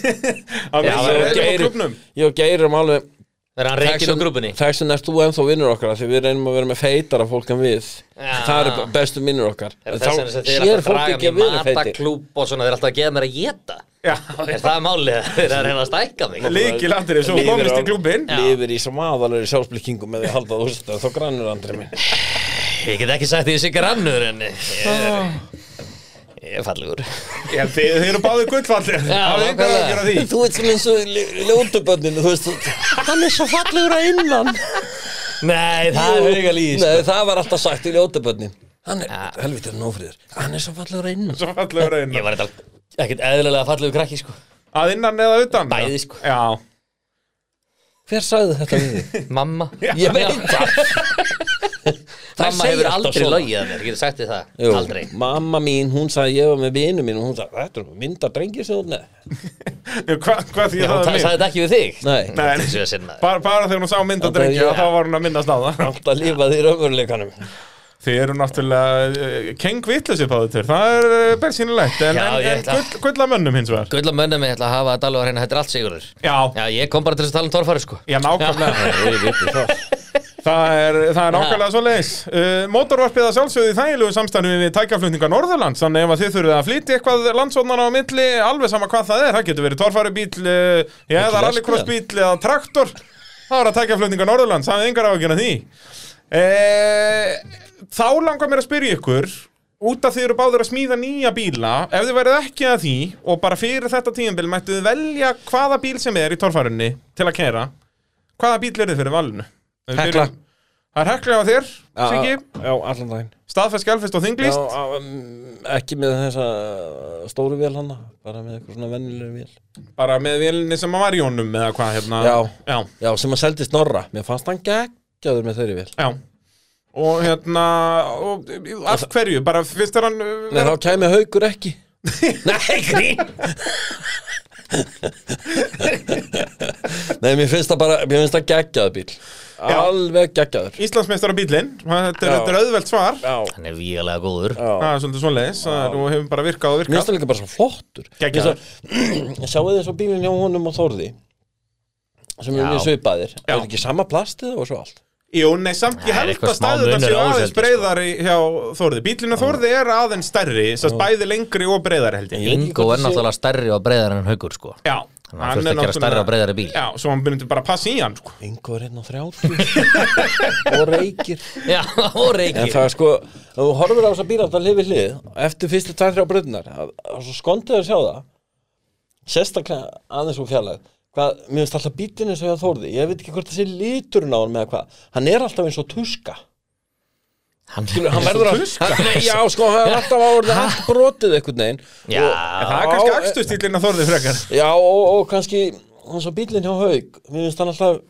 hann Já, það er er svo Geir- klubnum Ég og geir um alveg er hann reikinn á grúpunni Þessum erst þú ennþá vinnur okkar af Því við reynum að vera með feitara fólk en við Já. Það eru bestu vinnur okkar Er Þá þess vegna sem þið eru sér alltaf að fólk draga ekki að mig í við erum feitir mataklúb og svona, þeir eru alltaf að gefa mér að geta Já, Er það málið? *laughs* Þeir eru að reyna að stækka mig líkilandri, svo Lifir komist á- í klubin Já. Lifir í smáðalari sjálfsblikkingum með því að halda þú veist að Þá grannur andri minn Ég get ekki sagt því þessi grannur en ég er, ég er fallegur *laughs* Já, Þið þið eru báðið gullfallir Það er einhver að nákvæmlega. gera því Þú veit sem eins og ljótubönninu Þú veist, hann er svo fallegur að innan Nei, það er huga líst Nei, það var alltaf sagt í ljótubönnin sko. Hann er, Já. helviti er nófriður Hann er svo fallegur að innan Svo fallegur að Ég innan var eitthvað ekkert eðlilega fallegur krakki sko Að innan eða utan Bæði, sko. Já, Hver sagði þetta við þig? Mamma *laughs* Ég veit það *laughs* Þær Mamma segja hefur alltaf aldrei svona. logið að mér, getur sagt því það Jú, Aldrei Mamma mín, hún sagði ég var með vinu mín og hún sagði, þetta er mynda drengir sem þú með Hva, hvað því Já, það hún er sagði mér? þetta ekki við þig Nei. Þetta er Nei. svo að sinna þér. Bara, bara þegar hún sá mynd að Þetta er drengja ég. þá var hún að minnast á það Átt að lifa því raunveruleikanum Þið eru náttúrulega uh, keng vitlusið báðu tveir Það er uh, bensínilegt En, Já, en, ég en ætla- gull, gullamönnum hins vegar Gull að mönna mig ætla að hafa að dala að reyna Þetta er allt sigurður Já, Já, ég kom bara til þess að tala um torfari sko já *laughs* nákvæmlega Ég veit það Það er, það er nákvæmlega svo leis uh, Mótorvarpið að sjálfsögðu í þægilegu samstæðinu við tækjaflutninga Norðurlands Þannig ef að þið þurfið að flytja eitthvað landsóðnana á milli Alveg sama hvað það er Það getur verið torfærubíl, uh, já, eða rallycrossbíl eða traktor Það er að tækjaflutninga Norðurlands Það er engar ágjörna því uh, Þá langar mér að spyrja ykkur Út af þið eru báður að smíða nýja bíla Ef þið værið ekki að því Og bara fyrir þetta tíðanbíl Mættu þið velja hvaða bíl sem er í torfærunni Til að kæra Hvaða bíl er þið fyrir valinu? Ef við Hekla. byrjum- Það er heklega á þér, Já, Siggi Já, allan daginn Staðfest, gelfest og já, þinglýst á, um, Ekki með þessa stóru vél hana Bara með eitthvað svona vennilega vél Bara með vélinni sem að var í honum eða hvað hérna Já. Já, Já, sem að seldi snorra Mér fannst hann geggjaður með þeirri vél já. Og hérna, og, af hverju, bara finnst þér hann uh, Nei, vera- þá kæmi haukur ekki Nei, grín Nei, mér finnst það bara Mér finnst það geggjaður bíl Alveg geggjaður Íslandsmeistara bílinn, þetta er, Já. þetta er auðvelt svar Já, Hann er vígalega góður já Það er svolítið svoleiðis, það er- og hefur bara virkað og Mér finnst virkað það líka bara svo flottur Geggjaður. *clears throat* Ég Sjáu þið svo bílinn hjá honum og Þorði sem Já. er mjög svipaðir Já. Er ekki sama plastið og svo allt Jú, nei, samt ég Það er held eitthvað að smá stæðu munur þetta á séu þessu, aðeins held ég, sko. breiðari hjá Þórði Bílinn á Þórði er aðeins stærri, sérst bæði lengri og breiðari held ég veit ekki Ingo hvort er það sé- náttúrulega stærri og breiðar en haukur sko Já, Þannig að hann þurfti að gera stærri og breiðari bíl Já, svo hann byrjum bara að passa í hann, sko Ingo er einn á 30 *laughs* og reykir Já, *laughs* og En reiki það er sko, ef þú horfir á þess að bíla það lifi hlið eftir fyrstu tæð þrjá bröðnar og svo skondið að sjá það sérstaklega aðeins úr fjarlæð hvað, mér finnst alltaf bílinn eins og ég að Þorði ég veit ekki hvort það sé liturinn á hann með hvað hann er alltaf eins og tuska Hann, Skilur, hann verður að Tuska? hann, nei, já, sko, hann er alltaf á orðið allt brotið einhvern veginn Já. eh, Og- Það er kannski akstustílinn að Þórði frekar já, og, og kannski hans og bílinn hjá Haug mér finnst hann alltaf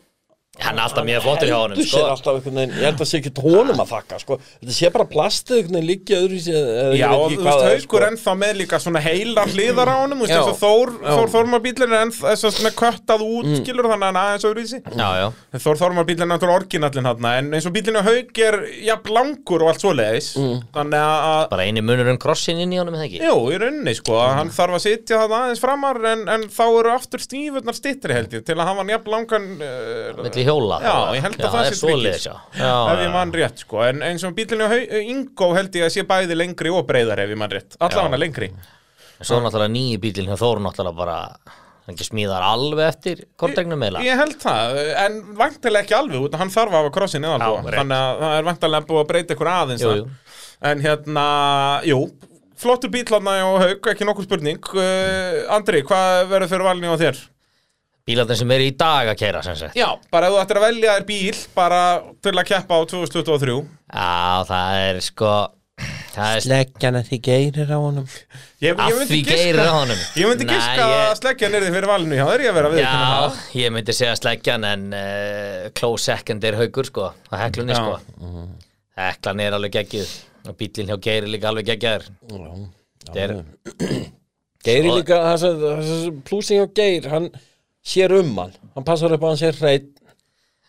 hann er alltaf mjög flottur hjá honum heldur sér sko alltaf einhvern veginn ég held að sé ekki tónum að þakka sko. þetta sé bara plastið einhvern veginn líkja öðru sér Já, og þú veist, haukur sko. ennþá með líka svona *clears throat* heilar hliðar á honum, þú veist, Já. eins og Þór, Já. Þór Þormarbílinn er ennþá þess að köttað út, Mm. skilur þannig að hann aðeins öðruvísi. Já, já Þór Þormarbílinn er náttúrulega orginallinn hann, en eins og bílinn á haug er jafn langur og allt svoleiðis, Mm. þannig að, að- Bara eini munur um krossin inn í honum, eða ekki? jú, í rauninni, sko, að hann þarf að sitja það aðeins framar, en, en þá eru aftur stífurnar stittri, held ég, til að hafa hann jafn langan, uh, Milli hjóla Já, ég held að það sé svo trikkið. leiðis, já Já, ef ég mann rétt, sko, en eins og bílinn á haug, Ingo held ég að sé bæði lengri og breyðar, ef ég mann rétt, allavega lengri. En svo er náttúrulega nýji bílinn hjá Þór náttúrulega bara hann ekki smíðar alveg eftir konteknum meila Ég held það, en vantilega ekki alveg út, hann þarf að hafa krossin eða Já, alveg rétt. Þannig að það er vantilega búið að breyta ykkur aðeins Jú, þar. jú. En hérna, jú, flottur bíl hann og haug, ekki nokkuð spurning uh, Andri, hvað verður fyrir valinu á þér? Bílarnir sem eru í dag að keira sem sagt Já, Já, bara ef þú ættir að velja þér bíl bara til að keppa á 2023 það er sko Það er leggjan að þið geirir á honum Ég, ég að myndi því geirir á giska, honum ég myndi giska Nei, að ég- sleggjan er þið fyrir valinu hjá þér, ég verð að við Já, ég myndi segja sleggjan en uh, close second er haukur sko á heklunni Já. sko Heklan er alveg geggjuð og bílinn hjá Geir er líka alveg geggjaður Þetta er, geiri Sko- líka það sem- það sem- plúsin hjá geir hann sér um hann hann passar upp á hann sér hreitt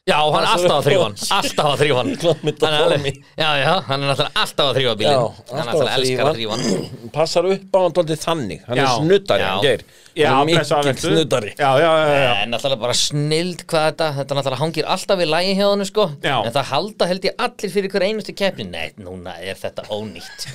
Já, hann er alltaf Passar að upp á þrýfa hann hans. Alltaf að þrýfa hann Glám mitt á Hann er alveg- formi. Já, já, hann er náttúrulega alltaf að þrýfa bílinn Já, Hann er alltaf að náttúrulega elskar að þrífa þrýfa hann *clears throat* passar upp á hann daldið þannig hann er Já. snuddari Já. hann geir Já, hann er blessaður, mikill vertu. snuddari Já, já, já, já, já. En náttúrulega bara snild hvað þetta Þetta náttúrulega hangir alltaf við lægi hjá hann sko Já. En það halda held ég allir fyrir hver einustu keppni Nei, núna er þetta *laughs* ónýtt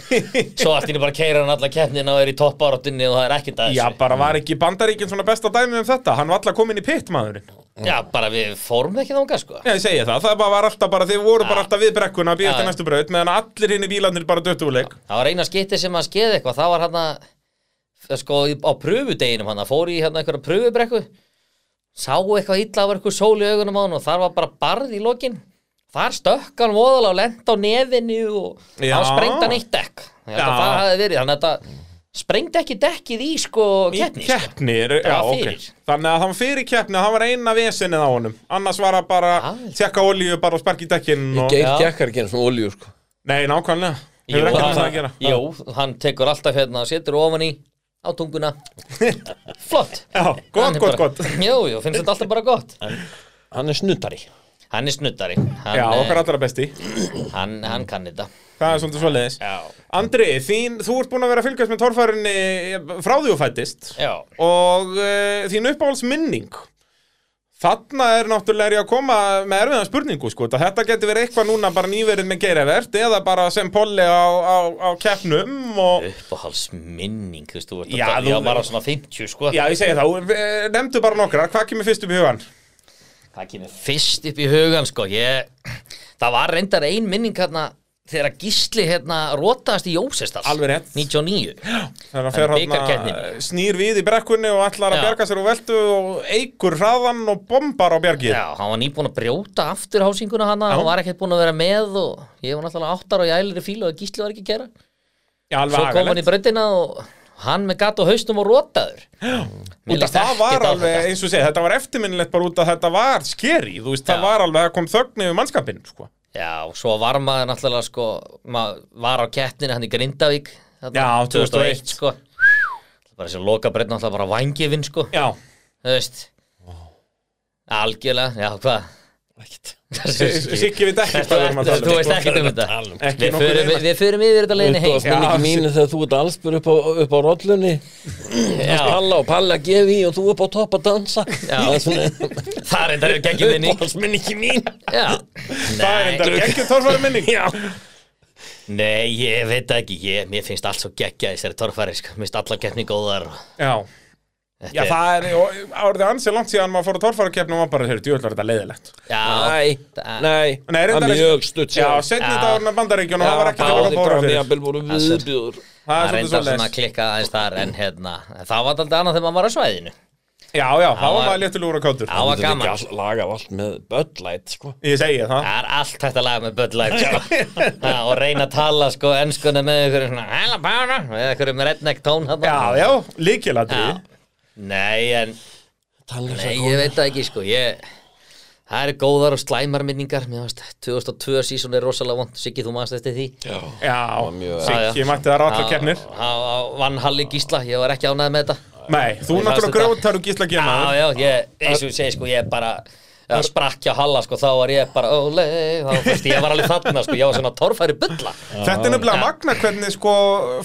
Svo allt inni bara keira hann alla keppnina og er í topparottunni og það er ekkert að Já, þessu bara var ekki bandaríkinn svona besta dæmi um þetta Hann var alltaf komin í pitt, maðurinn Já, bara við fórum ekki þangað sko Já, ég segi það, það bara var alltaf bara, þið voru bara alltaf við brekkuna að býja Já, til já. næstu braut meðan allir hinn í bílarnir bara döttu úr leik Það var eina skipti sem að skeði eitthvað Það var hann að sko, í- á pröfudeginum hann fór í hérna einhverja pröfubrekku sá eitthvað illa af eitthvað sól í augunum á hann og þar var bara barð í lokin þar stökk hann voðalega og lent á nefinu og Já. hann sprengdi hann eitt dekk Ég held að Já. það hafi verið, hann þetta sprengdi ekki dekkið í sko Í keppni sko. keppni, er- já, Það var ok fyrir. Þannig að hann fyrir keppni, það var eina vesinnið á honum Annars var það bara, Já. tjekka olíu bara og sparki í dekkin og... geir Já. tekkar ekki eins og olíu sko Nei, nákvæmlega Jú, Hefur ekki með það að hann, gera jú, hann tekur alltaf hérna og setur ofan í á *laughs* tunguna flott Já, Hann gott, er gott, bara- gott Jú, jú, finnst þetta alltaf bara *laughs* gott hann er snuddari Hann er snuddari Hann, Já, eh, okkar allra besti hann, hann kann þetta Það er svolítið svoleiðis Já, Andri, þín, þú ert búin að vera að fylgjast með torfærinni eh, frá því og fættist já og uh, þín uppáhaldsminning þarna er náttúrulega er ég að koma með erfiðan spurningu sko. þetta- þetta getur verið eitthvað núna bara nýverið með geirivert eða bara sem polli á, á, á keppnum og Uppáhaldsminning, þú veist, þú ert Já, að þú- Já, bara svona 50, sko Já, ég segi þá, eh, nefndu bara nokkra, hvað kemur fyrst upp í hugan? Það kemur fyrst upp í hugan, sko Ég, það var reyndar ein minning hérna þegar Gísli hérna rótaðast í Jósestall Alveg rétt. 99 *gasps* Þannig að fer En hérna, bikarkeppnin. snýr við í brekkunni og ætlar að Já. bjarga sér og veltu og eigur hraðan og bombar á bjargið. Já, hann var nýbúin að brjóta afturhásinguna hana Já. hann var ekkert búin að vera með og ég var náttúrulega áttar og ég ælir í fíl og Gísli var ekki að gera Já, alveg Svo kom agalegt. hann í bröndina og hann með gatt og haustum og rótaður Mér Út af líst það ekkert var á alveg, þetta. eins og segja, þetta var eftirminnilegt bara út af þetta var skeri, þú veist, það Já. var alveg, það kom þögn yfir mannskapinn, sko. Já, og svo var maður náttúrulega sko, maður var á keppninu hann í Grindavík þarna, Já, 2001, sko bara þessi loka breytna alltaf bara vangifinn sko, Já, þú veist algjörlega, já hvað ekkert Siggi veit ekki hvað við erum að Þetta- tala þú um. veist ekkert um þetta Tala um. Ekki Við nokkuð förum- neina. við- við förum yfir þetta leiðinni Þú heim veist minningi Já, mínu þegar þú ert allspur upp á, upp á rollunni Hans Palla og Palla gefi í og þú upp á topp að dansa Það er svona Það er þetta geggjum minni Hans minningi mín Já Það er Nei, enda ekki torfæri minning. Já. Nei, ég veit það ekki ég, Mér finnst allt svo geggja í þessari torfæri sko. Mér finnst alla keppni góðar og- Þetta Já, er- það er, og árið ansið langt síðan maður fór að torfæra keppnum og maður bara, heyrðu, djúðlar þetta leiðilegt. Já, Nei, það- nei, Nei, það er reyndar- mjög stutt Já, síðan. setni Já. dagurinn af bandaríkjunum, það var ekki báðir það að bóra bara fyrir. jafnvel voru viðbjóður Það er Það svolítið reyndar svona svolítið. að klikka aðeins þar en hérna, það var alltaf annað þegar maður var á svæðinu Já, já, þá var var- maður léttilegur og kátur. Það var gaman, Laga allt með böllæt sko. Ég segi það. það er allt hægt að laga með Bud Light sko. *laughs* Ha, og reyna að tala sko enskuna með ykkur svona "Hello, Bára", með ykkur með redneck tón þarna. Já, já, líkilatri. Já. Nei, en Tala um nei, það ég veit það ekki sko ég, það eru góðar og slæmar minningar mér varst 2002 sísón er rosalega vond Siggi, þú maður eftir því Já, Já, mjög- Siggi mætti það rátt á keppnir. Það vann Halli Gísla, ég var ekki ánægð með þetta Nei, þú Ég náttúrulega fannst þetta- grótar og gísla Já, gemaður. já, ég, eins og ég segi sko, ég bara Það sprakk hjá Halla sko, þá var ég bara Óle, þá fyrst ég var alveg þarna sko Ég var svona torfæri bulla Þetta er nefnilega Já. magna hvernig sko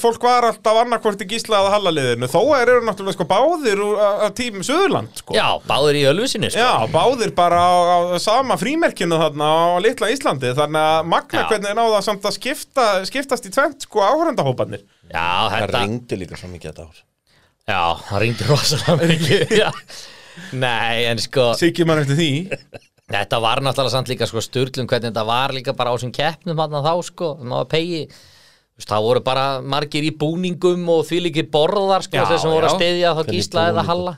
fólk var alltaf annarkvort í gísla að halaliðinu þó að þeir eru náttúrulega sko báðir úr- á á tímum Suðurland sko. Já, báður í ölfusinu sko Já, báðir bara á, á sama frímerkinu þarna á litla Íslandi þannig að magna Já. hvernig er náða samt að skipta, skiptast í tvent sko áhörendahópanir Já, það þetta ringdi líka svo mikið þetta ár Já, það ringdi rosalega mikið Já Nei, en sko Siggi mann eftir því Þetta var náttúrulega samt líka sko sturglum hvernig þetta var líka bara á sem keppnum hann þá sko, maður pegi Þú veist, það voru bara margir í búningum og því líki borðar sko Já, þeir sem voru að já. styðja þá gísla eða halla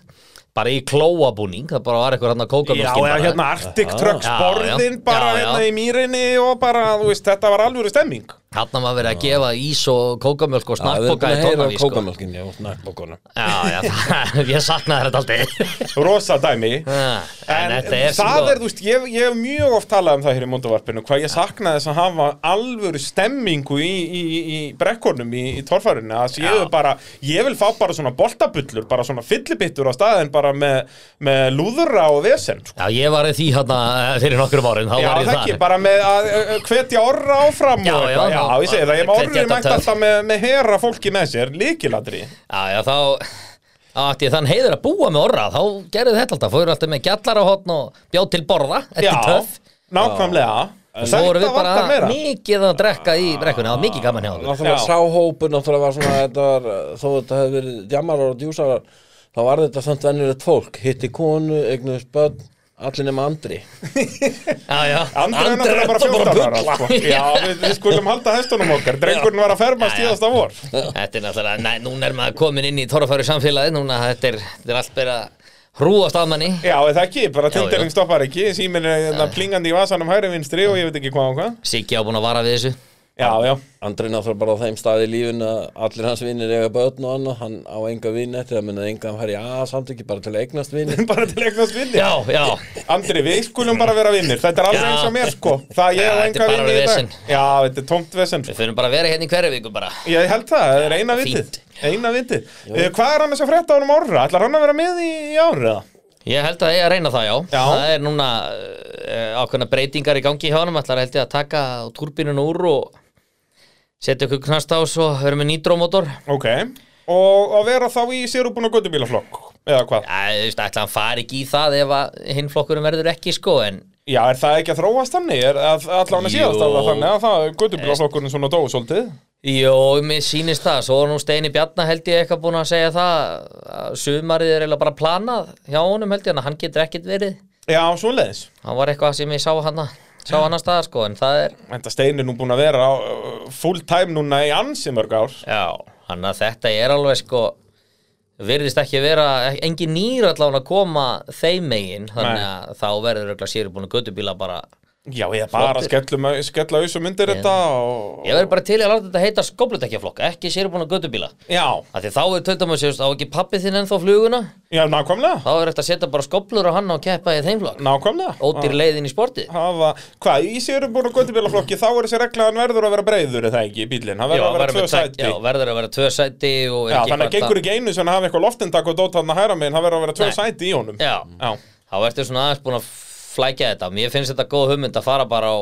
bara í klóabúning, það bara var eitthvað hann að kóka Já, eða hérna Arctic Trucks Já, já. borðin bara Já, já. hérna í mýrinni og bara, þú veist, þetta var alvöru stemming Þarna maður verið að gefa ís og kókamjölk og Já, við erum snakkboka í tónavís búin að heyra um sko. kókamjölkin Já, snakkbókuna Já, já, það, *laughs* ég saknaði *laughs* þetta aldrei Rosa dæmi en, En, þetta er það sko- er, þú veist, ég, ég hef mjög oft talað um það hér í mundavarpinu, hvað ég sakna þess að hafa alvöru stemmingu í, í, í- í brekkunum, í, í torfarinu, að séu Já. bara, ég vil fá bara svona boltabullur, bara svona fyllibittur á staðin bara með, með lúðura og vesen, sko. Já, ég var í því hérna eh, fyrir nokkrum árin, þá Já, var ég það þar ekki, bara með að ö, ö, hvetja orra áfram Já, og já, eitthvað, já, þá- ég segi það, ég má hvetja orrið þetta mætt töff. alltaf með, með hera fólki með sér, líkiladri. Já, já, þá þá átti ég þann heiður að búa með orra þá gerði þetta alltaf, fóru alltaf með gjallar á hotn og bjá til borða, Já, þetta er töff nákvæmlega. og svo voru Þetta við vantar bara meira. mikið að drekka í brekkunni, það var mikið gaman hjá okkur Náttúrulega Já. sá hópur, náttúrulega var svona þetta var, þó þetta hefði verið djamarar og djúsarar þá var þetta samt venjulegt fólk hitti konu, eignuðist börn allir nema Andri Já, já, Andri er náttúrulega bara 14 ára sko. Já, við, við skulum halda hestunum okkar Drengurinn var að ferma Já, já. stíðast á vor Þetta er náttúrulega, næ, núna er maður komin inn í torrafæru samfélagi, núna þetta er, þetta er allt bara hrúast af manni Já, eða ekki, bara Já, já. tindirinn stoppar ekki Síminn er hérna plingandi í vasanum hægri vinstri og ég veit ekki hvað og hvað Siggi á búin að vara við þessu Já, *laughs* já, Andri náttúrulega bara á þeim staði í lífinu að allir hans vinnir eiga börn og annað hann á enga vinni eftir það munið enga hann fær í að samt ekki bara til að eignast vinni bara til eignast vinni Já, já, Andri, við skulum bara vera vinnir Þetta er alveg Já. eins og mér sko Það ég Já, á þetta er enga bara vinni í vesen. dag Já, þetta er tómt vesen sko. við fyrir bara að vera hérna í hverju viku bara Ég held það, það er eina vitið fínt. Eina vitið Eh, Hvað er hann að frétta á honum orra? Ætlar hann að vera með í, í ára? Ég held að ég að reyna það, já. Já. Það er núna uh, ákveðna breytingar í gangi hjá hann, ætlar held ég að taka turbinun úr og setja okkur knast á svo, verðum með nýtrómotor. Ok Og að vera þá í sérubun og göttubílaflokk Eða hvað? Já, þú veist, ætla hann fari ekki í það ef að hinn flokkurum verður ekki, sko, en Já, er það ekki að þróast þannig? Er að- allan að Jú. síðast alveg þannig að það guttubílaflokkurinn svona dó svolítið? Jó, mér sýnist það, svo er nú Steini Bjarna held ég eitthvað búin að segja það að sumarið er eiginlega bara planað hjá honum held ég, þannig að hann getur ekkert verið Já, svoleiðis. hann var eitthvað sem ég sá hann að sá annar staðar sko en það er Þetta stein er nú búin að vera á, uh, full time núna í ansi mörg ár Já, hann að þetta er alveg sko virðist ekki vera, e- engin nýr allavega að koma þeim megin þannig Nei. að þá verður örugglega sér búin að göttubíla bara Já, ég bara skellum að skella auðs og myndir þetta og... ég verður bara til í að láta þetta heita skoblutekjaflokk ekki sér búin að göttubíla Já, af því þá er tautum að séu, á ekki pappi þinn ennþá fluguna já, nákvæmlega þá er eftir að setja bara skoblur á hann og keppa í þeim flokk Nákvæmlega ódýr leiðin í sporti hafa, hvað, í sérum búin að göttubílaflokki þá er þessi regla að hann verður að vera breyður eða ekki í bílinn, hann Já, verður að vera verður tvö með tæk- sæti já, já, verður að vera tvö sæti og er ekki þannig að eitthvað gengur ekki einu sem að hafa eitthvað loftindak og dótaðna hæra megin, hann verður að vera tvö Nei. sæti í honum Já. þá ertu svona aðeins búin að flækja þetta mér finnst þetta góð hugmynd að fara bara á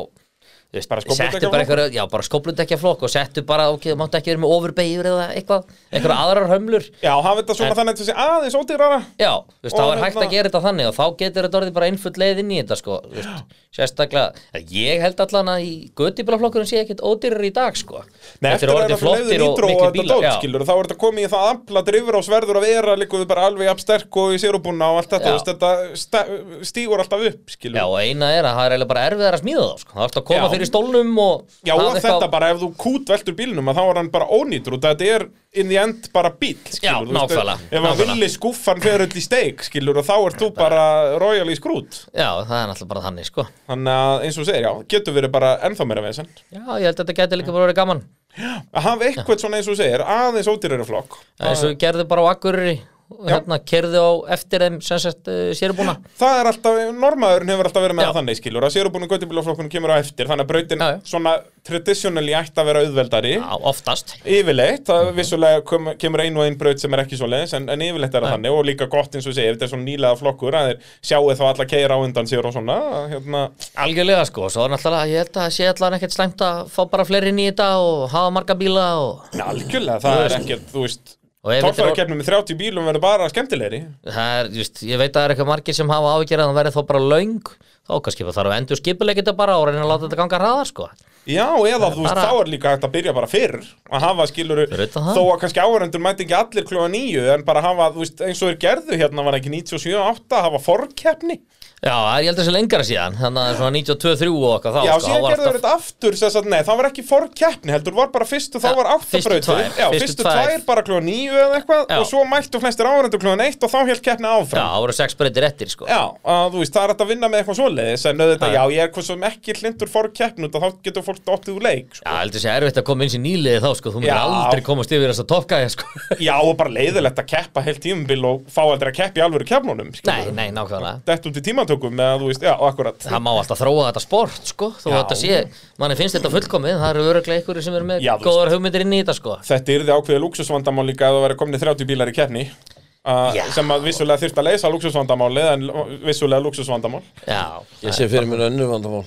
þú veist, Bara settu bara skófludekjaflokk? eitthvað, já, bara skoblundekja flokk og settu bara, ok, þú máttu ekki verið með overbeigur eða eitthvað, eitthvað aðrar hömlur já, hafa þetta svona En- þannig að þetta sé aðeins ódýrara já, þú veist, Og þá er hérna- hægt að gera þetta þannig og þá getur þetta orðið bara einfull leið inn í þetta sko, þú veist, sérstaklega eða ég held allan að í göttibílaflokkurinn sé ekkert ódýrar í dag, sko Nei, eftir að vera fyrir leiðin ítró og þetta dót, skilur, þá er þetta komið í það afla drifur á sverður að vera, líka við bara alveg jafnsterk og í sérubúna og allt þetta, Já. þú veist, þetta sta- stígur alltaf upp, skilur. Já, og eina er að það er eiginlega bara erfiðar að smíða þá, sko. Það er alltaf að koma Já. fyrir stólnum og... Já, hafa og eitthvað- þetta bara, ef þú kútveltur bílnum að þá er hann bara ónýtur og þetta er in the end bara bíl, skilur Já, þú veist, nákvæmlega, Ef hann nákvæmlega. villi skúffan fer öll í steik, skilur, og þá ert þú bara royal í skrút Já, það er alltaf bara þannig, sko. Þannig að, eins og þú segir, já, getur verið bara ennþá meira vesen Já, ég held að þetta gæti líka bara verið gaman Að hafa eitthvað svona, eins og þú segir, aðeins ódýrari flokk Það er svo við gerðum bara á Akureyri og Já. hérna kerðu á eftir þeim sem sett uh, sérbúna Það er alltaf, normaðurinn hefur alltaf verið með Já. það þannig skilur að sérubúnum göttibílaflokkunum kemur á eftir þannig að brautin Já, já. svona traditionally ætti að vera auðveldari Já, oftast yfirleitt, það vissulega kom, kemur ein og ein braut sem er ekki svo leiðis en, en yfirleitt er það þannig og líka gott eins og segir, þetta er svona nýlega flokkur að þeir sjáu þá alla keira á undan sér og svona að, hérna, Algjörlega sko, svo er náttúrulega ég held að það sé allan ekkert slæmt að fá bara fleiri inn í þetta og hafa marga bíla og na, algjörlega, það er ekkert, þú veist Og ef þetta er- Torfærakeppnum með 30 bílum verður bara skemmtilegri það er, just, ég veit að það er eitthvað margir sem hafa áhyggjur að það verði þó bara löng þá kannski bara þarf að endur skipuleik þetta bara og reyna að láta þetta ganga hraðar sko Já, eða þú veist, bara- þá er líka hægt að byrja bara fyrr að hafa skiluru, Fyrir utan það. þó að kannski áhörendur mæti ekki allir kljóða nýju, en bara hafa, þú veist, eins og er gerðu hérna, var ekki 97-8 hafa forkeppni, Já, það er- ég held að þessi lengra síðan þannig að svona 92-3 og okkar þá já, sko, þá síðan var gerðu alltaf- þetta aftur, sess að, nei, það var ekki forkeppni heldur, var bara fyrstu, þá Ja, var átta fyrstu brautir, tvær, já, fyrstu fyrstu tvær. tvær bara kljóða nýju eða eitthvað, Já. og svo mættu flestir áhörendur kljóða neitt og þá held keppni Já, áfram. það voru sex breytir eftir sko Já, að, þú veist, það er hægt að vinna með eitthvað svoleiðis, en auðvitað, já, ég er hvað sem ekki hlindur forkeppni, út af þá getur fólk dottið úr leik, sko. Já, heldur þessi erfitt að koma inn sér nýliði þá sko, þú myndir Já. aldrei komast yfir þess að toppgæja *laughs* sko Já, og bara leiðilegt að keppa heilt tímabil og fá aldrei að keppa í alvöru keppnunum Nei, nei, nákvæmlega Dett út í tímatökum með að þú veist, já, akkurat Það má alltaf þróa þetta sport sko þú Já. þetta sé, manni finnst þetta fullkomið það eru öruglega ykkur sem eru með Já, þú veist. góðar hugmyndir inn í þetta sko Þetta yrði ákveðið lúksusvandamál líka ef það væri komni 30 bílar í keppni uh, Já. sem að vissulega þyrfti að leysa lúksusvandamálið en vissulega lúksusvandamál Já, Ég sé fyrir mér önnur vandamál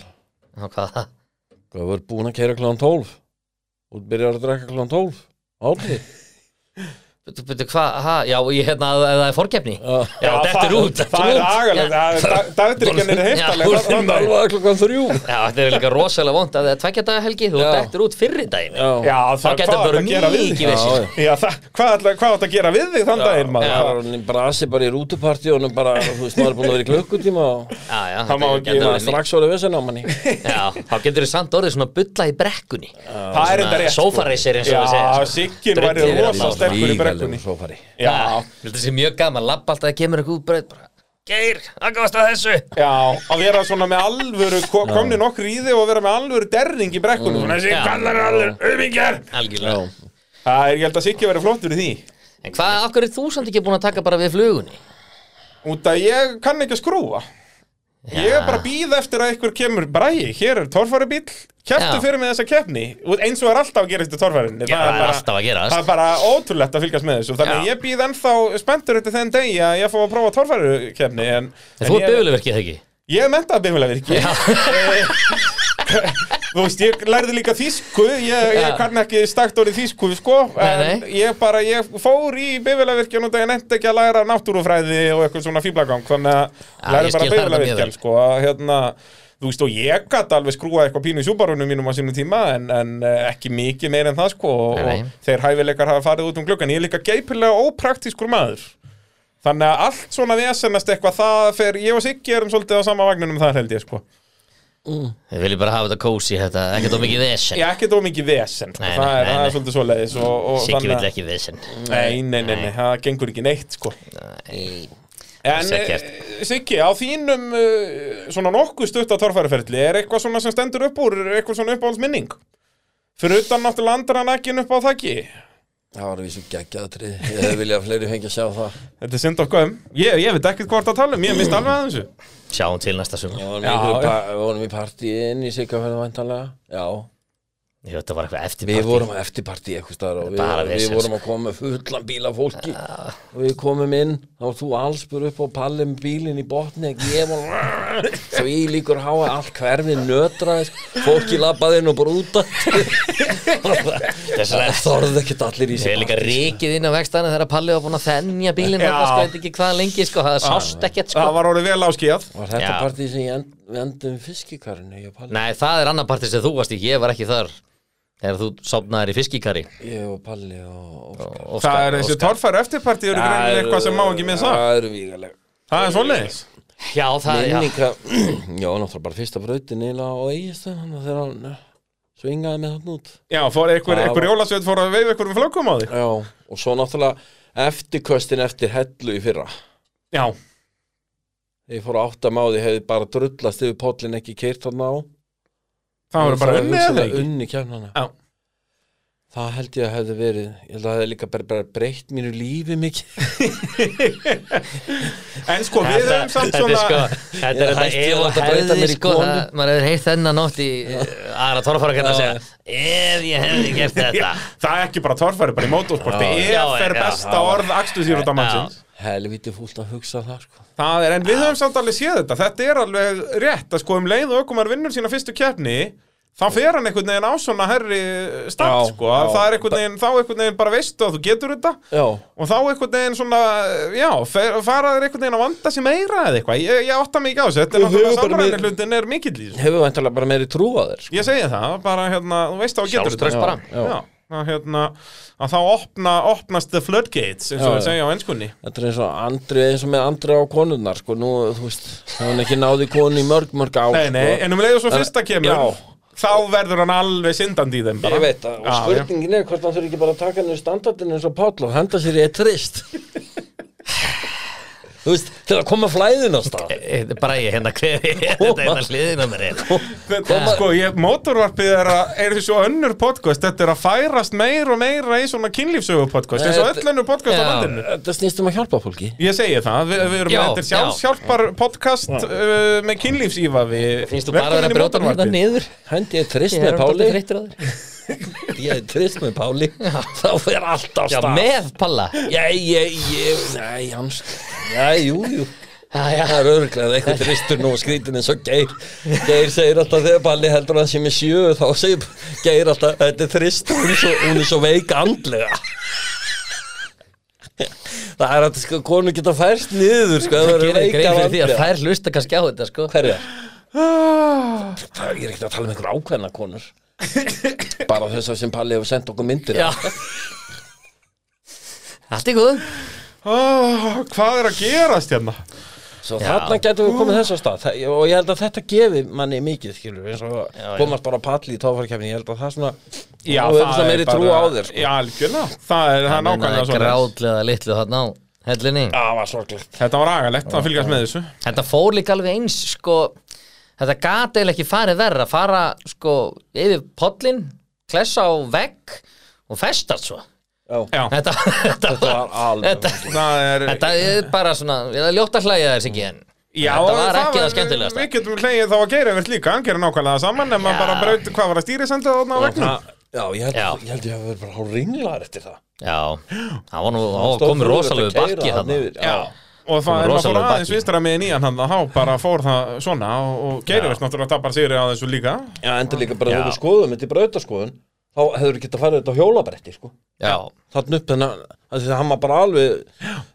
Ná, hvað það? Hvað voru búin að keira kláðan 12 og byrjar að drekka kláðan 12 Áli Byrju, byrju, hvað, ha, já, ég hérna að að það er forkeppni Já, já það- þetta er út þetta Það er er út. agalegt, það er- dagdrykkjan er Já, heiftaleg Alveg að klokkan þrjú *laughs* Já, þetta er líka rosalega vond að það er tveggja daga helgi þú Já. dettur út fyrri daginn Já, Já, Þá það, hvað gæti þetta átt verið að gera við mikið þig? Já, vissir já. Já, það, hvað, ætla, hvað átt að gera við þig þann daginn, maður? Það var hann brasi bara í rútupartí og hann bara, þú veist, maður er búin að vera í klukkutíma og Já, já, Það má þetta ekki- gæti það er verið mikið. strax orðið vesen á manni Já, þá getur þið samt orðið svona bulla í brekkunni Það er þetta rétt sko. Sofareisir eins og við sko. Já, segja Siggin Drullið væri er rosa allavega sterkur í brekkunni Ríkalegur sófari Já, Þetta sé mjög gaman, labba alltaf að kemur eitthvað út bara, bara Geir, aðgafast að þessu Já, að vera svona með alvöru ko- komni nokkur í þig og vera með alvöru derring í brekkunum Svona Mm. þessi Já. kallar alvöru, auðvingjar Algjörlega Já, Það er, ég held að Siggi verið flottur í því En hvað, okkur er þú samt ekki búin að taka bara við flugunni? Út að ég kann ekki að skrúa Ég er bara að býða eftir að einhver kemur Bræi, hér er torfæri bíll Já. Kæftu fyrir með þessa keppni Og eins og er alltaf að gerast í torfærinni Já, það er alltaf að gerast. Það er bara ótrúlegt að fylgjast með þessu Þannig að Já. ég býð ennþá spenntur eftir þenn degi að ég fá að prófa torfæri keppni En, En þú ég- er bifulegverkið þegar ekki? Ég er mentað bifulavirki *laughs* Þú veist, ég lærði líka þýsku Ég, ég Já. kann ekki stakt orðið þýsku sko, En Nei, nei. ég bara, ég fór í bifulavirkjan og ég nefndi ekki að læra náttúrufræði og eitthvað svona fíblagang Þannig Já, að læra ég bara skil það alveg mjög vel. bifulavirkjan sko, að, hérna, Þú veist, og ég gæti alveg skrúa eitthvað pínu í súbarunum mínum á sínum tíma En, en eh, ekki mikið meir en það sko Og, Nei, nei. og þeir hæfileikar hafa farið út um gluggan Ég er líka geipilega ópraktískur maður Þannig að allt svona vesennast eitthvað það fer, um ég og Siggi erum svolítið á sama vagninum þar held ég sko Við viljum bara hafa þetta kósi, þetta, ekkert of mikið vesen Já, ekkert of mikið vesen sko. Nei, það, nei, er, nei, það nei. er svolítið svoleiðis og, og Siggi þannig vill að- ekki vesen nei, nei, nei, nei, það gengur ekki neitt sko. Nei. En Alls ekkert. eh, Siggi, á þínum eh, svona nokkuð stutt á torfæriferðli er eitthvað svona sem stendur upp úr, er eitthvað svona uppáhaldsminning Fyrir utan náttúrulega andran ekkin upp á þakki Það var vísu geggjaðatrið Ég hefði viljað að fleiri fengi að sjá það Þetta er synd okkur um ég, ég veit ekkert hvort að tala um, ég misti alveg að þessu Sjáum til næsta sumar Við vorum Já, í- já. Við vorum í partíin í Siggaferð væntanlega Já, Ég veit að það var eitthvað eftir Við partí. vorum að eftirparti eitthvað staðar og við, Bara við vesen, vorum að koma með fullan bíl af fólki og við komum inn þá var þú allspur upp á palli með bílinn í botni ég var svo ég líkur háa allt hverfið nötraði sko. fólki labbaði inn og bara út Þess *laughs* að það þorði ekkert allir í Ég er sig líka rikið inn á vegstæðinu þegar Palli var búin að þennja bílinn Já. þetta sko, ég veit ekki hvað lengi sko, það sást ekkert sko. Það var orðið vel áskíðað Var þetta Já. partí sem ég end, við endum fiskikarinu ég og Palli? Nei, það er annar partið sem þú varst í, ég var ekki þar þegar þú sopnaðir í fiskikari Ég og Palli og Óskar og Það er þessi torfæri eftirparti eru greinilega eitthvað sem má ekki með það Það eru vígaleg Það er svoleiðis sko, Já, það er, já, minninga, *clears throat* já, náttúrulega bara fyrsta brautin eiginlega á eigistöð þannig að þegar hann eh, svingaði með hann út Já, fór einhver, Það einhver jólasveit fór að veifa einhverjum flökum á því já, og svo náttúrulega eftirköstin eftir hellu í fyrra Já, þegar ég fór að átta máði hefði bara drullast yfir pollin ekki keirt hann á það voru bara unnið eða unnið ekki unni kemnana Já. það held ég að hefði verið ég held að það hefði líka bara, bara breytt mínu lífi mikið En sko, við Þetta, höfum samt þetta er svona sko, þetta er Ég þetta hætti að ef láta og breyta hefði mér í sko, konu. það- maður hefur heitt þennan nótt í eh, aðra torfara kannar að Já. segja, ef ég hefði gert þetta Það er ekki bara torfæri, bara í mótorsporti Já, já, Ef er já, besta já. orð akstuðsýrúta mannsins helviti fúlt að hugsa það sko. Það er, en við höfum samt alveg séð þetta Þetta er alveg rétt að sko um leið og ökumar vinnur sína fyrstu keppni þá fer hann einhvern veginn á svona herri start Já, sko, já, já. það er einhvern veginn, þá einhvern veginn bara veistu að þú getur þetta já, og þá einhvern veginn svona, já, fer, fara þér einhvern veginn að vanda sér meira eða eitthvað, ég, ég átta mig ekki á þessu þetta er Og þau náttúrulega eru bara með- samræðin hlutin er mikill í þessu hefur vantarlega bara meiri trú á þér sko. ég segi það, bara hérna, þú veist að þú getur Sjálfstraust þetta bara Já. já, að, hérna, að þá opna, opnast the floodgates eins og Já, við já. segja á ennskunni Þetta er eins og andri, eins og með andri á konurnar, sko, nú, þú veist, það hann ekki náði konu í mörg, mörg á, Nei, nei, sko. en um leið og svo En- fyrsta kemur Já. þá verður hann alveg syndandi í þeim bara. Ég veit það, og Já, já. spurningin er hvort hann þurfi ekki bara að taka henni standardin eins og Páll og henda sér í eitt trist. þú veist, til að koma flæðin á stað. Eh, eh, Bara ég hérna *laughs* kveði, þetta er hérna hliðin á mér hérna. Þetta, sko, ég, mótorvarpið er, að, er þessu önnur podcast, þetta er að færast meir og meira í svona kynlífsögu podcast eins og Þetta- öll önnur podcast á Já. landinu Þetta snýst um að hjálpa fólki. Ég segi það, við, við erum Já, með þetta er sjálfshjálpar podcast uh, með kynlífsífa við Finnst þú bara vera að brjóta hérna niður? Hendi eitt trist Ég með er Páli, orðin þreyttur á þér. ég eitt trist með Páli, þá fer allt á Já, stað. með Palla Ég, ég, ég, nei, hans, já, jú, jú. Já, Það er örglega eitthvað tristur nú og skrítin eins og Geir Geir segir alltaf þegar Balli heldur að hann sé með sjö þá segir Geir alltaf þetta er trist hún er svo, hún er svo veik andlega Það er að sko konu geta færst niður sko það gerir eru grein veikar fyrir því að andlega þær hlusta kannski á þetta sko Hverja? Ah, Það er ég er ekkert að tala um einhver ákveðna konur bara þess að sem Palli hefur sendt okkur myndir Já Allt í góð ah, hvað er að gerast hérna? Svo Já. þarna getum við komið þess að stað Þa- og ég held að þetta gefi manni mikið skilur eins og Já, já. komast bara á palli í tófarkefni ég held að það svona Já, þú hefur svona meiri trú á þér sko. Já, algjörlega, það er, það er nákvæmlega svona svona Gráðlega litlu þarna á hellinni Það var sorglegt Þetta var agalegt að fylgjast með þessu Þetta fór líka alveg eins sko Þetta gat eiginlega ekki farið verra Fara sko yfir pollin Klessa á vegg Og festast svo Já. Já, Þetta, þetta, Þetta var alveg þetta, það er þetta er bara svona Ég er að ljóta hlæja þér sikki en Já, Þetta var það ekki það skemmtilegasta. Við getum hleyið þá að geira yfir líka, hann gerir nákvæmlega það saman en maður Já. bara braut hvað var að stýri senda þarna á vegnum Það- Já, ég held, Já. Ég held ég hafi verið bara hálf ringlaður eftir það Já, það var nú það var Stóð komið fyrir rosalegu þetta að keyra bakki þarna þarna yfir. Já, og það Komum er maður fór rosalega aðeins baki. vinstra með nýjan hann þá bara fór það svona og, og gerir verðst náttúrulega tapar sigri á þessu líka Já, endur líka bara Já. þegar við skoðum þetta í brautaskoðun þá hefur getað farið þetta á hjólabretti sko. Já, þannig upp þennan af því að hann var bara alveg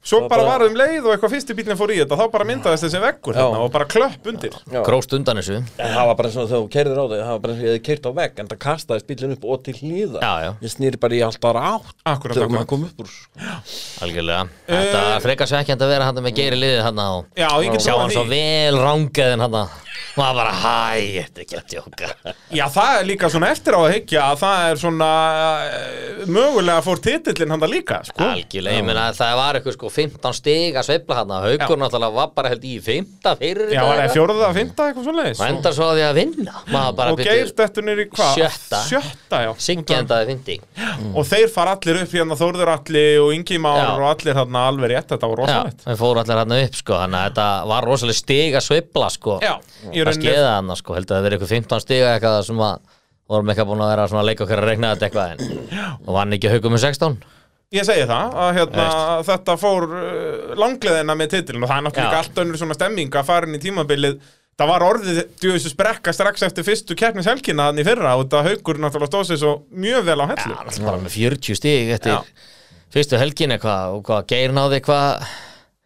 Svo Það bara bara- var um leið og eitthvað fyrsti bílinn fór í þetta þá bara myndaðist þessi veggur Já. þarna og bara klöpp undir gróst undan þessu En það var bara eins og þegar þú keirir á þig það var bara eins og ég hefði keirt á vegg en það kastaðist bílinn upp og til hlýða Já, já. ég snýri bara í allt ára átt Akkurat, þegar akkurat. maður kom upp úr sko. Algjörlega, Eh. þetta frekar svekkjandi að vera hann með geiri liðið hann og Já, ég get sjá trúað hann því. svo vel rangaðin hann maður bara, hæ, þetta er ekki að djóka Já, það er líka svona eftir á að hyggja að það er svona eh, mögulega fór titillin handa líka, sko. algjörlega, ég meina það var eitthvað sko 15 stig að sveifla hann haukur Já. náttúrulega var bara held í 15 fyrir Já, þetta var það eitthvað. fjórða, fymta, eitthvað svona og endar svo að því að vinna maður bara Og geir byrju, dettur niður í hvað? Sjötta. Sjötta, já. Siggi endaði 50 Og þeir fara allir upp hérna Þórður Alli og Ingi Már Já. og allir hérna alveg rétt, þetta var Já, rosalegt. við fórum allir hann upp sko þannig að þetta var rosalega stig að sveifla sko Já, í það rauninni- skeiða hann sko, held að það verið eitthvað 15 stig eitthvað sem að vorum eitthvað búin að vera svona að leika okkar að regna þetta eitthvað en og vann ekki haukum með 16 Ég segi það, að hérna, þetta fór uh, langleðina með titilin og það er náttúrulega Já. allt önnur svona stemming að fara inn í tímabilið Það var orðið djúðis sprekka strax eftir fyrstu keppnishelgina þannig fyrra og þetta haukur náttúrulega stóð sér svo mjög vel á hellu. hann alltaf bara með 40 stig eftir Já. fyrstu helgin eitthvað og hvað geir náði eitthvað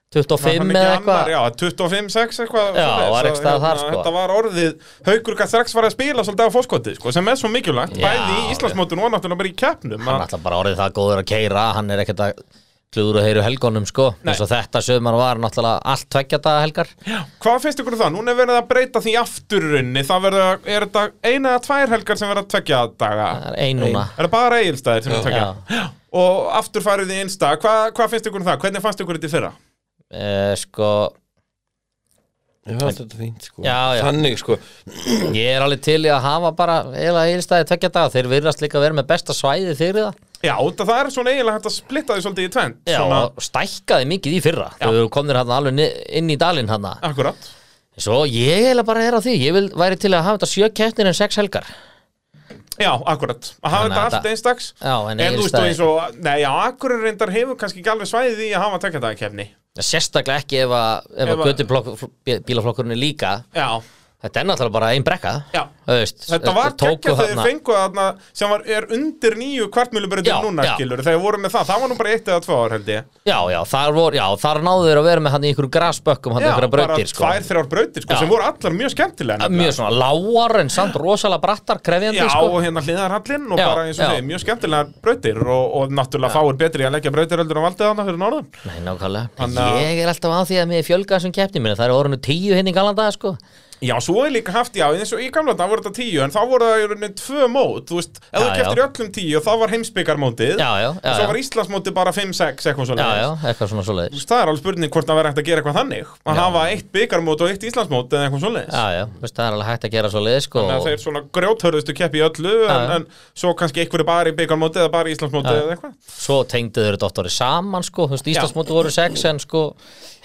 25 Var eða hann ekki annar, eitthvað Já, 25-6 eitthvað svoleiðis. Já, hérna, var ekki staðar þar, sko. Þetta var orðið, haukur gætt strax var að spila svolítið á fóskoti, sko, sem er svo mikilvægt Já, bæði í Íslandsmótun og náttúrulega bara í keppnum hann að- alltaf bara orðið það góður að keira hann er ekkert að klúður að heyru helgonum sko eins og þetta sögumar var náttúrulega allt tveggja daga helgar Hvað finnst ykkur um það? Núna er verið að breyta því afturrunni, það verða, er þetta eina eða tvær helgar sem verða tveggja daga? það er ein núna Er það bara eigilstæðir sem er tveggja? Já. Já. Og aftur farið í einsta, hvað hva finnst ykkur um það? Hvernig fannst ykkur þetta í fyrra? Eh, sko, Ég fannst þetta fínt sko Já, já. Þannig sko ég er alveg til í að hafa bara eða eilstæði tveggja daga, þeir virðast líka að vera með besta svæði fyrir það Já, út af það er svona eiginlega hægt að splitta því svolítið í tvend. Já, svona, og stækkaði mikið í fyrra Já. þau eru komnir hann alveg ni- inn í dalinn hann akkurat. Svo ég eiginlega bara er á því, ég vil væri til að hafa þetta sjö keppnir en sex helgar Já, akkurat. Að hafa Þannig þetta að allt þetta- einstaks. Já, en En þú veist þú eins eilstæði, og, nei, já, Akureyri reyndar hefur kannski ekki alveg svæðið í að hafa tveggjaðakefni. sérstaklega ekki ef að, Ef ef að að- götu bílaflokkurinn er líka Já, Þetta er náttúrulega bara ein brekka já. þú veist, Þetta var tóku geggjað þegar þarna- þeir fengu þarna sem var, er undir nýju kvartmjölubröðum Já, núna, já. skilur, þegar voru með það, það var nú bara eitt eða tvö ár held ég. Já, já, þar, vor, já, þar náðu þeir að vera með hann í einhverju grasbökkum hann Já, einhverja bara brautir sko. tvær, þrjár brautir, sko, Já. sem voru allar mjög skemmtilega. nefnilega. mjög svona lágar en samt rosalega brattar krefjandi Já, sko. og hérna hliðarhallinn og Já, bara eins og já. þeim, mjög skemmtilega brautir og, og náttúrulega fáir betri í að leggja brautir heldur á valdið þarna fyrir norðan. Nei, nákvæmlega. Þannig að- Ég er alltaf á því að mér fjölga þessum keppni minna. Það eru orðinu tíu hinn í galandaga, sko. Já, svo er líka haft, já, eins og í gamla dag voru þetta tíu, en þá voru það í rauninni tvö mót, þú veist, ef þú Já, keftir í öllum tíu, þá var heimsbyggarmótið, Já, já, já, og svo já. var Íslandsmótið bara 5-6, eitthvað Já, svona. já, eitthvað svona svoleiðis. Það er alveg spurning hvort það verður hægt að gera eitthvað þannig, að hafa eitt byggarmót og eitt Íslandsmót eða eitthvað svoleiðis. Já, já, veist, það er alveg hægt að gera svoleiðis, sko. Þannig að þeir svona grjóthörðustu keppi í öllu, en, já. en svo kannski einhverju bara í byggarmótið eða bara í Íslandsmótið eða eitthvað. Svo tengdu þeir þetta oft árið saman, sko. Þú veist, Íslandsmóti voru sex, en sko,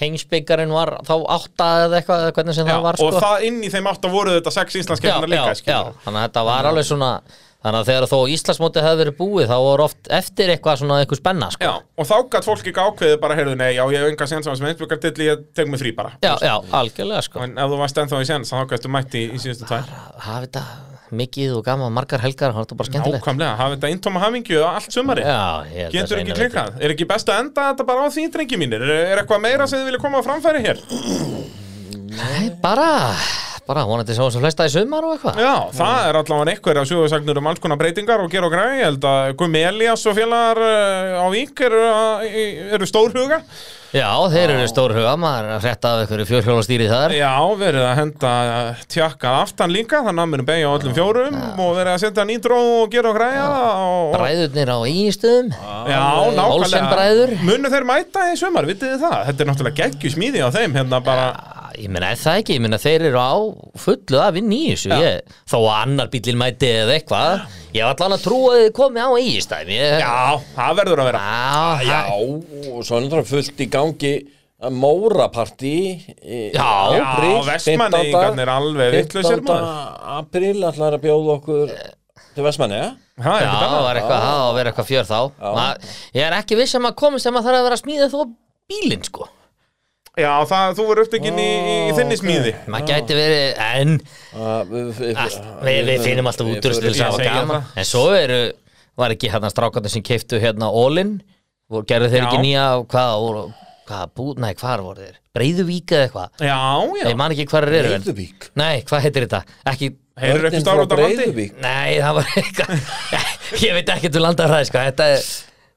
hengsbyggarinn var þá átta eða eitthvað, eða hvernig sem Já, það var, sko. og það inn í þeim átt að voru þetta sex Íslandskeppnar já, líka, já, skilur. já, þannig að þetta var alveg svona þannig að þegar þó Íslandsmóti hefði verið búið þá voru oft eftir eitthvað svona eitthvað spenna sko. Já, og þá gætt fólk ekki ákveðið bara, heyrðu, nei, já, ég hef enga sens á þessum heimsbyggartilli, ég tek mig frí bara. já, já, algjörlega sko. En ef þú varst ennþá í sens, þá gættu mætt í, í síðustu tvær. hafi þetta mikið og gaman margar helgar, það var þetta bara skemmtilegt Nákvæmlega, hafa þetta eintóma hamingju allt sumari. Já, ég held að Getur það sé ekki eina viti. klikkað? Er ekki best að enda þetta bara á því, drengi mínir? Er, er eitthvað meira sem þið vilja koma á framfæri hér? Nei, bara, bara vonandi sá sem flesta í sumar og eitthvað Já, það er allavega eitthvað að sjóðu sagnur um alls konar breytingar og gera og græði, ég held að Gumi Elias og félagar eh, á Vík eru, að- eru stórhuga Já, þeir eru stór huga, maður er að frétta af einhverju fjórhjólastýri þar Já, verið að henda eh, tjakka aftan líka, þannig að mér beigja á öllum fjórum og verið að setja nýtró og gera og græja og... Bræðurnir á eiginstöðum Já, Olsenbræður. nákvæmlega Munu þeir mæta í sumar, vitið þið það? Þetta er náttúrulega geggjus smíði á þeim hérna bara Ég meina, er það ekki, ég meina, þeir eru á fullu að vinni í þessu ég, Þó að annar bílinn mæti eða eitthvað Ég var allan að trúa að þið komi á eigistæmi ég, Já, það verður að vera Já, Já, já, og svo er náttúrulega fullt í gangi að Mórapartí eh, í- Já. í Já, apríl, 15. Vestmannaeyingarnir alveg vitlausir, 15. maður. apríl ætlar að bjóða okkur Eh. til Vestmanni, Það er Já, ekkert það annað var eitthvað, það á að vera eitthvað fjör þá Ma, Ég er ekki viss um að komist ef maður þarf að vera að smíða þó bílinn sko Já, það, þú verður upptekinn í, í, í þinni smíði Maður gæti verið, en allt, Ah, Ah, við, við finnum alltaf útrúst til þess Ég að hafa segi gaman En svo eru, var ekki hérna strákarnir sem keiftu hérna Ólin og gerðu þeir Já. ekki nýja, hvað, voru- hvað bú, nei, hvar voru þeir? Breiðuvík eða eitthvað Já, já Ég man ekki hvar þeir eru en- Breiðubík Nei, hvað heitir þetta? Ekki Heyrðu upp í Börnin stára frá út á landi Breiðubík *laughs* Nei, það var eitthvað Ég veit ekki til landar það, um sko Þetta er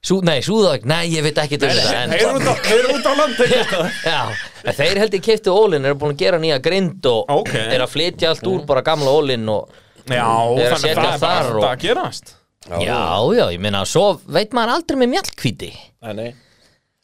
Sú, nei, Súðavík, nei, ég veit ekki til Þeir þetta en- þeir eru út á- þeir eru út á land þeir- Já, en þeir held ég keiptu ólinn eru búin að gera nýja grind og Ok. eru að flytja allt úr bara gamla ólinn og Já, þannig Þeir að það eru að er setja bara þar alltaf og- að gerast Já, já, ég meina, svo veit maður aldrei með mjallkvíti Nei, nei,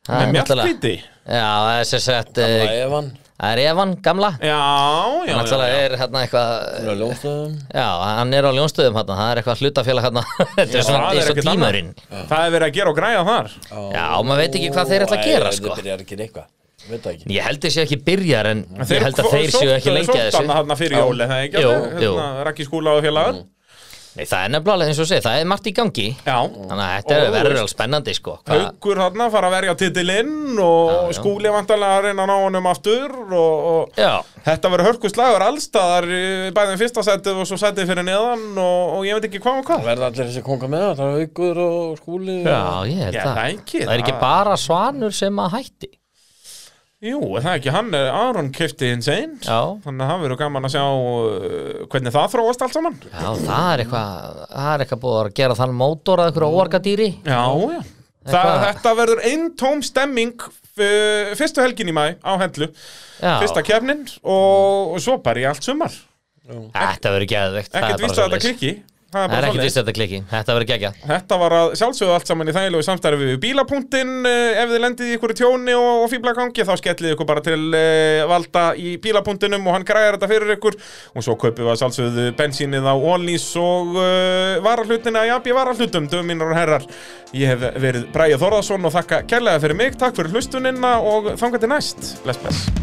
Það Með er náttúrulega- mjallkvíti Já, það er sem sagt, það eh, er Evan það er Evan gamla Já, já, já, Náttúrulega já. er hérna eitthvað Hún er ljónstöðum Já, hann er á ljónstöðum hérna, það er eitthvað hlutafélag hérna *laughs* Þetta er svona það er eins og ekkert annað. tímurinn Það er verið að gera og græja þar Já, maður veit ekki hvað þeir ætla að gera, sko Þeir byrjar ekki eitthvað, veit það ekki Ég held þeir séu ekki byrjar en Þeir ég held að þeir séu ekki lengi að þessu Sóttan hann fyrir jóli, það er ekki Jú, alveg? jú. Mm. Hérna, Raggi skúla og félagar Nei, það er nefnilega alveg eins og segja, það er margt í gangi Já, Þannig að þetta Og er- verður veist- alveg spennandi, sko Hvað- Haukur þarna fara að verja titilinn og Já, já. skúli vantanlega að reyna að ná honum aftur og, og Já, þetta verður hörkuslagur allstaðar í bæðin fyrsta setið og svo setið fyrir neðan og, og ég veit ekki hvað og Það hvað verða allir þessi konga með það, það er haugur og skúli já, ég held Já, það það er ekki Það er ekki það- bara svanur sem að hætti Jú, er það er ekki hann, er Aron kefti hins einn Já, þannig að það verður gaman að sjá uh, hvernig það þróast allt saman já það er eitthvað það er eitthvað búið að gera þann mótor að einhverju óarkadýri Já, já Það, Eitthvað- þetta verður eintóm stemming uh, fyrstu helgin í mæ á hendlu Já, fyrsta kefnin og, og svo bara í allt sumar þetta verður geðveikt það er ekkert vist að bara þetta svoleiðis. klikki það er Það er bara ekkert svoleiðis vist að þetta klikki, þetta verður gegja Þetta var að sjálfsögðu allt saman í þægilegu samstarfi við bílapunktinn, ef þið lendið í ykkur tjóni og, og fíblagangi þá skellið ykkur bara til eh, valda í bílapunktinum og hann græjar þetta fyrir ykkur og svo kaupið við að sjálfsögðu bensínið á Onlís og uh, varahlutina í AB varahlutum, döfum mínar og herrar Ég hef verið Bræja Þorðarsson og þakka kærlega fyrir mig, takk fyrir hlustunina og þangar til næst, bless bless